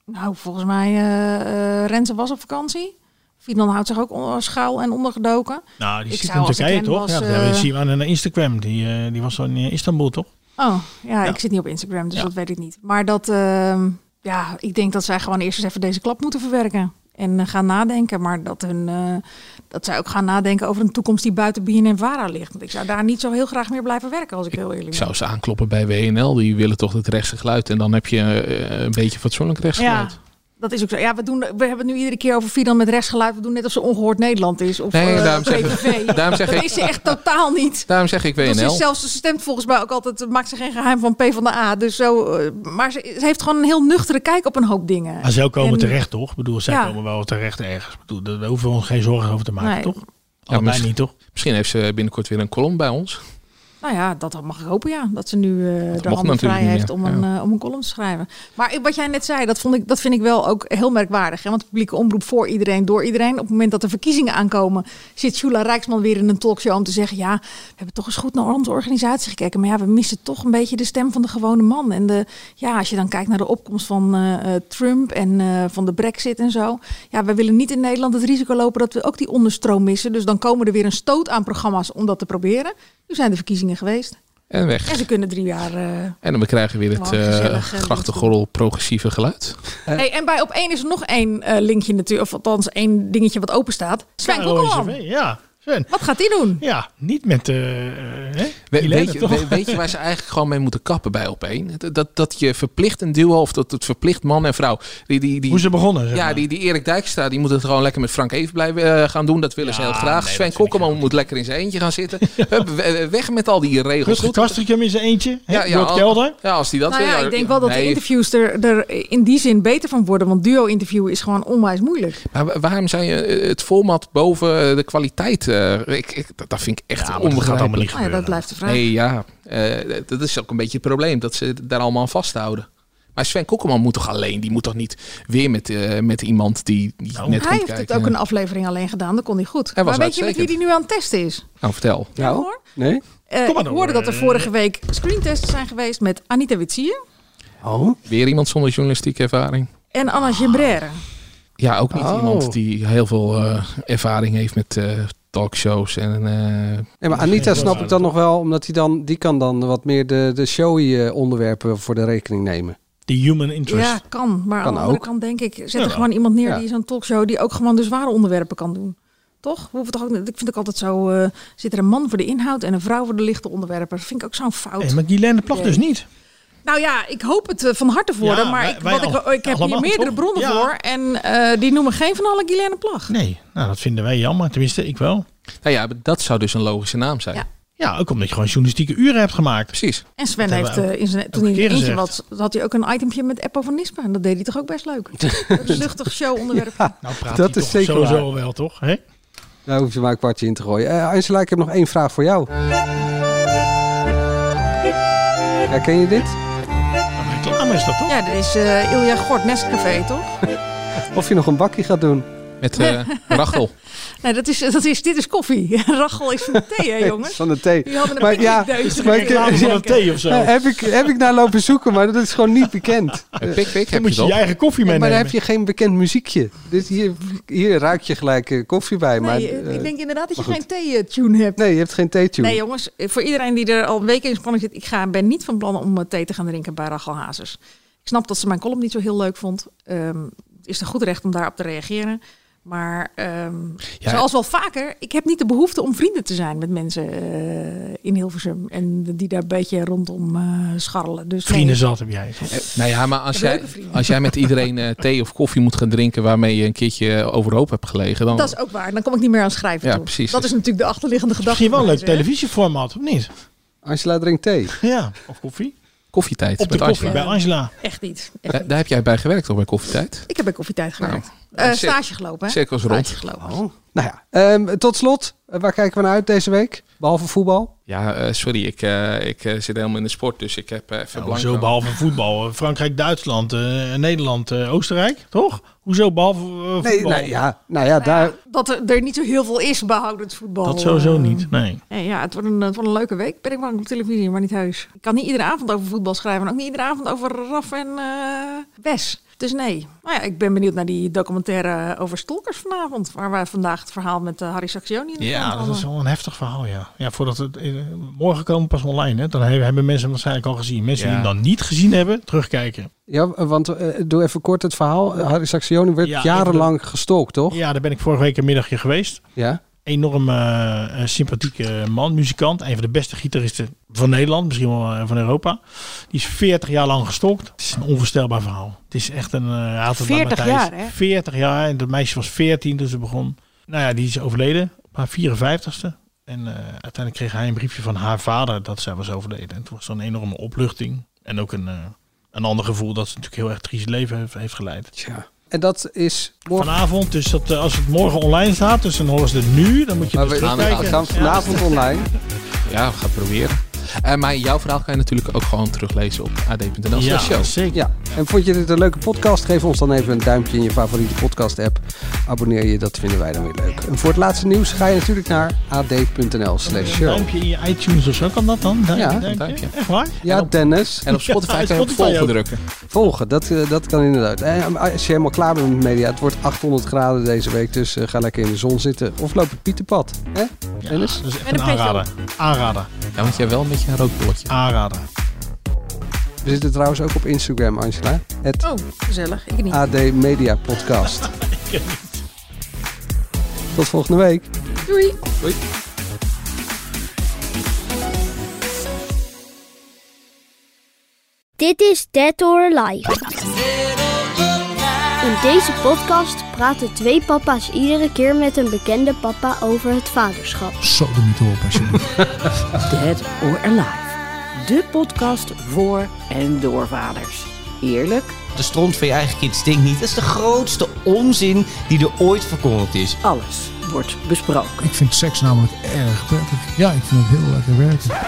Speaker 11: Nou, volgens mij, eh eh, Renze was op vakantie. Finan houdt zich ook on- schuil en ondergedoken.
Speaker 8: Nou, die
Speaker 11: Ik
Speaker 8: zit
Speaker 11: zou,
Speaker 8: in
Speaker 11: als ik
Speaker 8: Turkije
Speaker 11: hem
Speaker 8: toch?
Speaker 11: was,
Speaker 8: ja, dat
Speaker 11: eh,
Speaker 8: hebben we- zien we aan de Instagram. Die, eh, die was zo in eh, Istanbul toch?
Speaker 11: Oh, ja, ik zit niet op Instagram, dus dat weet ik niet. Maar dat, ehm, ja, ik denk dat zij gewoon eerst eens even deze klap moeten verwerken. En eh, gaan nadenken, maar dat, hun, eh, dat zij ook gaan nadenken over een toekomst die buiten BNNVARA ligt. Want ik zou daar niet zo heel graag meer blijven werken, als ik heel eerlijk
Speaker 9: Ik
Speaker 11: ben.
Speaker 9: zou ze aankloppen bij WNL. Die willen toch het rechtse geluid. En dan heb je eh, een beetje fatsoenlijk rechtsgeluid.
Speaker 11: Ja, dat is ook zo. Ja, we, doen, we hebben het nu iedere keer over Fidan met rechtsgeluid. We doen net of ze ongehoord Nederland is. Of
Speaker 9: Nee,
Speaker 11: eh,
Speaker 9: daarom zeg ik-
Speaker 11: PVV.
Speaker 9: daarom zeg
Speaker 11: dat
Speaker 9: ik-
Speaker 11: is ze echt totaal niet.
Speaker 9: Daarom zeg ik
Speaker 11: Dus ze,
Speaker 9: WNL.
Speaker 11: is zelfs, ze stemt volgens mij ook altijd, eh, maakt ze geen geheim van P van de A. Dus zo, eh, maar ze, ze heeft gewoon een heel nuchtere kijk op een hoop dingen.
Speaker 8: Maar zij komen
Speaker 11: En-
Speaker 8: terecht toch? Ik bedoel, zij
Speaker 11: Ja.
Speaker 8: komen wel terecht ergens. Ik bedoel, daar daar hoeven we ons geen zorgen over te maken
Speaker 11: Nee.
Speaker 8: toch?
Speaker 9: Ja,
Speaker 8: Allebei
Speaker 9: misschien-
Speaker 8: niet toch?
Speaker 9: Misschien heeft ze binnenkort weer een column bij ons.
Speaker 11: Nou ja, dat mag ik hopen, ja. Dat ze nu eh, de
Speaker 9: mag
Speaker 11: handen
Speaker 9: natuurlijk
Speaker 11: vrij
Speaker 9: niet
Speaker 11: heeft
Speaker 9: meer,
Speaker 11: om, een, eh, om een column te schrijven. Maar wat jij net zei, dat, vond ik, dat vind ik wel ook heel merkwaardig. Hè? Want publieke omroep voor iedereen, door iedereen. Op het moment dat de verkiezingen aankomen, zit Jula Rijksman weer in een talkshow om te zeggen... ja, we hebben toch eens goed naar onze organisatie gekeken. Maar ja, we missen toch een beetje de stem van de gewone man. En de, ja, als je dan kijkt naar de opkomst van eh, eh, Trump en eh, van de brexit en zo. Ja, we willen niet in Nederland het risico lopen dat we ook die onderstroom missen. Dus dan komen er weer een stoot aan programma's om dat te proberen. Nu zijn de verkiezingen geweest.
Speaker 9: En weg.
Speaker 11: En ze kunnen drie jaar. eh,
Speaker 9: En dan krijgen we weer het
Speaker 11: Gewoon gezellig,
Speaker 9: eh
Speaker 11: eh,
Speaker 9: grachtengorrel progressieve geluid.
Speaker 11: Hey, en bij op één is er nog één eh, linkje natuurlijk, of althans één dingetje wat open staat. Sven Kokkelman.
Speaker 8: ONCV, Ja, Sven.
Speaker 11: Wat gaat die doen?
Speaker 8: Ja, niet met... eh, eh, hè?
Speaker 9: We-
Speaker 8: Helene,
Speaker 9: weet, je,
Speaker 8: toch?
Speaker 9: we- weet je waar ze eigenlijk gewoon mee moeten kappen bij opeen? Dat, dat, dat je verplicht een duo of dat het verplicht man en vrouw. Die, die, die,
Speaker 8: Hoe ze begonnen, zeg
Speaker 9: ja,
Speaker 8: maar.
Speaker 9: die, die Erik Dijkstra die moet het gewoon lekker met Frank Even blijven eh, gaan doen. Dat willen ze
Speaker 8: Ja,
Speaker 9: heel graag.
Speaker 8: nee,
Speaker 9: Sven Kokkeman moet lekker in zijn eentje gaan zitten. Hup, we- Weg met al die regels.
Speaker 8: Rustig Kastrikum in zijn eentje. hè?
Speaker 9: Ja, ja,
Speaker 8: Jort
Speaker 9: al-
Speaker 8: Kelder.
Speaker 9: Ja, als die dat
Speaker 11: nou
Speaker 9: wil.
Speaker 11: ja, ik denk wel dat de
Speaker 9: Nee,
Speaker 11: interviews er, er in die zin beter van worden. Want duo-interviewen is gewoon onwijs moeilijk.
Speaker 9: Maar wa- waarom zijn je eh, het format boven eh, de kwaliteit? eh, ik, ik, dat, dat vind ik echt
Speaker 8: maar dat
Speaker 9: onbegrijpelijk.
Speaker 8: gaat allemaal niet
Speaker 11: Nou ja, dat blijft de vraag.
Speaker 9: Nee, ja. eh, dat is ook een beetje het probleem. Dat ze daar allemaal aan vasthouden. Maar Sven Kokkelman moet toch alleen? Die moet toch niet weer met, eh, met iemand die, die net komt
Speaker 11: hij heeft
Speaker 9: kijken?
Speaker 11: het ook een aflevering alleen gedaan, dat kon hij goed.
Speaker 9: Hij was
Speaker 11: maar weet je met wie
Speaker 9: uitstekend.
Speaker 11: die nu aan het testen is?
Speaker 9: Nou, vertel.
Speaker 11: Ja, hoor.
Speaker 7: Nee?
Speaker 11: Eh,
Speaker 8: Kom maar
Speaker 11: ik
Speaker 8: door,
Speaker 11: hoorde dat er
Speaker 8: eh.
Speaker 11: vorige week screentests zijn geweest met Anita Witsier
Speaker 7: Oh?
Speaker 9: Weer iemand zonder journalistieke ervaring?
Speaker 11: en Anna Gimbrere.
Speaker 9: Ja, ook niet
Speaker 7: Oh.
Speaker 9: iemand die heel veel eh, ervaring heeft met eh, talkshows en... eh,
Speaker 7: Nee, maar Anita snap ik dan nog wel, omdat die, dan, die kan dan wat meer de, de showy eh, onderwerpen voor de rekening nemen.
Speaker 8: Die human interest.
Speaker 11: Ja, kan. Maar aan
Speaker 7: Dus Kan
Speaker 11: de andere
Speaker 7: ook.
Speaker 11: kant denk ik, zet
Speaker 8: Ja.
Speaker 11: er gewoon iemand neer
Speaker 7: Ja.
Speaker 11: die zo'n talkshow die ook gewoon de zware onderwerpen kan doen. Toch? We hoeven toch ook, niet- ik vind ook altijd zo, eh, zit er een man voor de inhoud en een vrouw voor de lichte onderwerpen. Dat vind ik ook zo'n fout.
Speaker 8: Hey, maar Guilaine Plag dus niet.
Speaker 11: Nou ja, ik hoop het eh, van harte voor
Speaker 8: Ja,
Speaker 11: hem, maar
Speaker 8: wij-
Speaker 11: ik,
Speaker 8: wij
Speaker 11: wat ik,
Speaker 8: al-
Speaker 11: ik heb hier
Speaker 8: allemaal,
Speaker 11: meerdere
Speaker 8: toch?
Speaker 11: bronnen
Speaker 8: Ja.
Speaker 11: voor en eh, die noemen geen van alle Guilaine Plag.
Speaker 8: Nee, nou dat vinden wij jammer. Tenminste, ik wel.
Speaker 9: nou ja, dat zou dus een logische naam zijn.
Speaker 11: Ja.
Speaker 8: Ja, ook omdat je gewoon journalistieke uren hebt gemaakt.
Speaker 9: Precies.
Speaker 11: En Sven
Speaker 8: Dat
Speaker 11: heeft,
Speaker 8: hebben we
Speaker 11: eh, in zijn, toen
Speaker 8: elke
Speaker 11: hij in
Speaker 8: keer
Speaker 11: het eentje
Speaker 8: gezegd.
Speaker 11: was, had hij ook een itempje met Eppo van Nispen. En dat deed hij toch ook best leuk. Een luchtig show-onderwerp.
Speaker 8: Nou
Speaker 7: Dat
Speaker 8: praat hij
Speaker 7: is
Speaker 8: toch
Speaker 7: zeker
Speaker 8: sowieso wel, toch? Hè?
Speaker 7: Daar Nou, hoef je maar een kwartje in te gooien. Eh Angela, ik heb nog één vraag voor jou. Herken je dit?
Speaker 8: Reclame is dat toch?
Speaker 11: Ja, dat is eh, Ilja Gort, Nescafé, toch?
Speaker 7: Of je nog een bakje gaat doen?
Speaker 9: Met eh Rachel.
Speaker 11: Nee, dat is, dat is, dit is koffie. Rachel is van thee, hè, jongens.
Speaker 7: Van de thee.
Speaker 11: Jullie hadden een
Speaker 7: Maar ja,
Speaker 11: picknickdeus
Speaker 7: maar
Speaker 11: erin.
Speaker 7: ik- Reclame
Speaker 8: Van een thee of zo.
Speaker 7: Eh, heb, ik, heb ik naar lopen zoeken, maar dat is gewoon niet bekend.
Speaker 9: Eh, Pik, pik,
Speaker 8: Dan
Speaker 9: heb je
Speaker 8: moet je
Speaker 9: dat?
Speaker 8: je eigen koffie
Speaker 7: Nee, maar
Speaker 8: meenemen.
Speaker 7: daar heb je geen bekend muziekje. Dus hier, hier ruik je gelijk eh, koffie bij. maar,
Speaker 11: Nee, eh,
Speaker 7: eh,
Speaker 11: ik denk inderdaad dat je
Speaker 7: maar
Speaker 11: geen thee-tune hebt.
Speaker 7: nee, je hebt geen theetune.
Speaker 11: Nee, jongens, eh, voor iedereen die er al een week in spanning zit, ik ga, ben niet van plan om eh, thee te gaan drinken bij Rachel Hazes. Ik snap dat ze mijn column niet zo heel leuk vond. Ehm, het is er goed recht om daarop te reageren. Maar ehm,
Speaker 9: Ja.
Speaker 11: zoals wel vaker, ik heb niet de behoefte om vrienden te zijn met mensen eh, in Hilversum. En die daar een beetje rondom eh, scharrelen. Dus nee.
Speaker 8: Vrienden zat heb jij.
Speaker 9: Eh, Nou ja, maar als
Speaker 11: Ik heb
Speaker 9: jij,
Speaker 11: leuke vrienden.
Speaker 9: als jij met iedereen eh, thee of koffie moet gaan drinken waarmee je een keertje overhoop hebt gelegen, dan
Speaker 11: Dat is ook waar. Dan kom ik niet meer aan schrijven
Speaker 9: Ja,
Speaker 11: toe.
Speaker 9: precies.
Speaker 11: Dat is natuurlijk de achterliggende gedachte.
Speaker 8: Misschien wel een leuk
Speaker 11: van mensen,
Speaker 8: televisieformaat, of niet?
Speaker 7: Angela drinkt thee.
Speaker 8: Ja, of koffie.
Speaker 9: koffietijd.
Speaker 8: Op de
Speaker 9: met
Speaker 8: koffie
Speaker 9: Angela.
Speaker 8: bij Angela.
Speaker 11: hè? Echt niet.
Speaker 9: Da-
Speaker 11: Echt
Speaker 9: Eh, Daar,
Speaker 11: niet.
Speaker 9: heb jij bij gewerkt toch bij koffietijd?
Speaker 11: Ik heb bij koffietijd gewerkt.
Speaker 9: Nou,
Speaker 11: Eh,
Speaker 9: cir-
Speaker 11: stage gelopen. hè?
Speaker 9: cirkels rond.
Speaker 11: Stage gelopen.
Speaker 7: Oh. Nou ja, ehm, tot slot, eh, waar kijken we naar uit deze week? Behalve voetbal?
Speaker 9: Ja, eh, sorry, ik, eh, ik eh, zit helemaal in de sport, dus ik heb eh even
Speaker 8: Nou,
Speaker 9: blanco.
Speaker 8: hoezo behalve voetbal? Eh, Frankrijk, Duitsland, eh, Nederland, eh, Oostenrijk, toch? Hoezo behalve eh, voetbal?
Speaker 7: Nee, nou ja, nou ja, daar...
Speaker 11: Dat er, er niet zo heel veel is behoudend voetbal.
Speaker 8: Dat sowieso
Speaker 11: Eh,
Speaker 8: niet, nee.
Speaker 11: nee, ja, het wordt, een, het wordt een leuke week. Ben ik bang op televisie, maar niet thuis. Ik kan niet iedere avond over voetbal schrijven. En ook niet iedere avond over Raf en eh, Wes. Dus nee. Maar ja, ik ben benieuwd naar die documentaire over stalkers vanavond. Waar we vandaag het verhaal met eh, Harry Saxioni in de krant
Speaker 8: Ja, dat
Speaker 11: hadden.
Speaker 8: is wel een heftig verhaal, ja. Ja, voordat het... eh, Morgen komen we pas online, hè. Dan he- hebben mensen hem waarschijnlijk al gezien. Mensen die
Speaker 7: Ja.
Speaker 8: hem dan niet gezien hebben, terugkijken.
Speaker 7: Ja, want eh, doe even kort het verhaal. Harry Saxioni werd
Speaker 8: Ja, ik
Speaker 7: jarenlang gestolkt, toch?
Speaker 8: Ja, daar ben ik vorige week een middagje geweest.
Speaker 7: Ja.
Speaker 8: Enorm eh, eh, sympathieke man, muzikant. Een van de beste gitaristen van Nederland, misschien wel eh, van Europa. Die is 40 jaar lang gestalkt. Het is een onvoorstelbaar verhaal. Het is echt een... eh, hij had het bij
Speaker 14: 40
Speaker 8: Matthijs.
Speaker 14: jaar, hè?
Speaker 8: 40 jaar. En dat meisje was 14 toen ze begon. Nou ja, die is overleden op haar 54ste. En eh, uiteindelijk kreeg hij een briefje van haar vader dat zij was overleden. En toen was er een enorme opluchting. En ook een, eh, een ander gevoel dat ze natuurlijk heel erg triest leven heeft, heeft geleid.
Speaker 7: En dat is morgen...
Speaker 8: Vanavond, dus dat, eh, als het morgen online staat, dus dan horen ze het nu. Dan moet je
Speaker 7: Maar
Speaker 8: dus
Speaker 7: we-
Speaker 8: terugkijken.
Speaker 7: we gaan vanavond online.
Speaker 9: Ja, we gaan het proberen. Eh, maar jouw verhaal kan je natuurlijk ook gewoon teruglezen op ad.nl.
Speaker 7: Ja,
Speaker 9: show.
Speaker 8: zeker.
Speaker 7: Ja. En vond je dit een leuke podcast? Geef ons dan even een duimpje in je favoriete podcast-app. Abonneer je, dat vinden wij dan weer leuk. En voor het laatste nieuws ga je natuurlijk naar ad.nl slash
Speaker 8: Een
Speaker 7: show.
Speaker 8: duimpje in je iTunes of zo, kan dat dan? Duimpje,
Speaker 7: Ja,
Speaker 8: duimpje?
Speaker 7: een duimpje.
Speaker 8: Echt waar?
Speaker 7: Ja, Dennis.
Speaker 9: en op Spotify kan je op volgen drukken.
Speaker 7: Volgen, dat, eh, dat kan inderdaad. En als je helemaal klaar bent met media, het wordt 800 graden deze week. Dus eh, ga lekker in de zon zitten. Of loop het Pieterpad. Hè? Dennis?
Speaker 8: Dat is echt een aanrader. Aanrader.
Speaker 9: Ja, want jij wel een beetje een rookbolletje.
Speaker 8: Aanrader.
Speaker 7: We zitten trouwens ook op Instagram, Angela. Het
Speaker 11: Oh, gezellig. Ik niet.
Speaker 7: AD Media Podcast. Tot volgende week.
Speaker 11: Doei.
Speaker 7: Doei.
Speaker 15: Dit is Dead or Alive. In deze podcast praten twee papa's iedere keer met een bekende papa over het vaderschap.
Speaker 16: Zo de mythe op, alsjeblieft.
Speaker 17: Dead or Alive. De podcast voor en door vaders. Eerlijk,
Speaker 18: De stront van je eigen kind stinkt niet. Dat is de grootste onzin die er ooit verkondigd is.
Speaker 17: alles wordt besproken.
Speaker 16: Ik vind seks namelijk erg prettig. Ja, ik vind het heel lekker werken.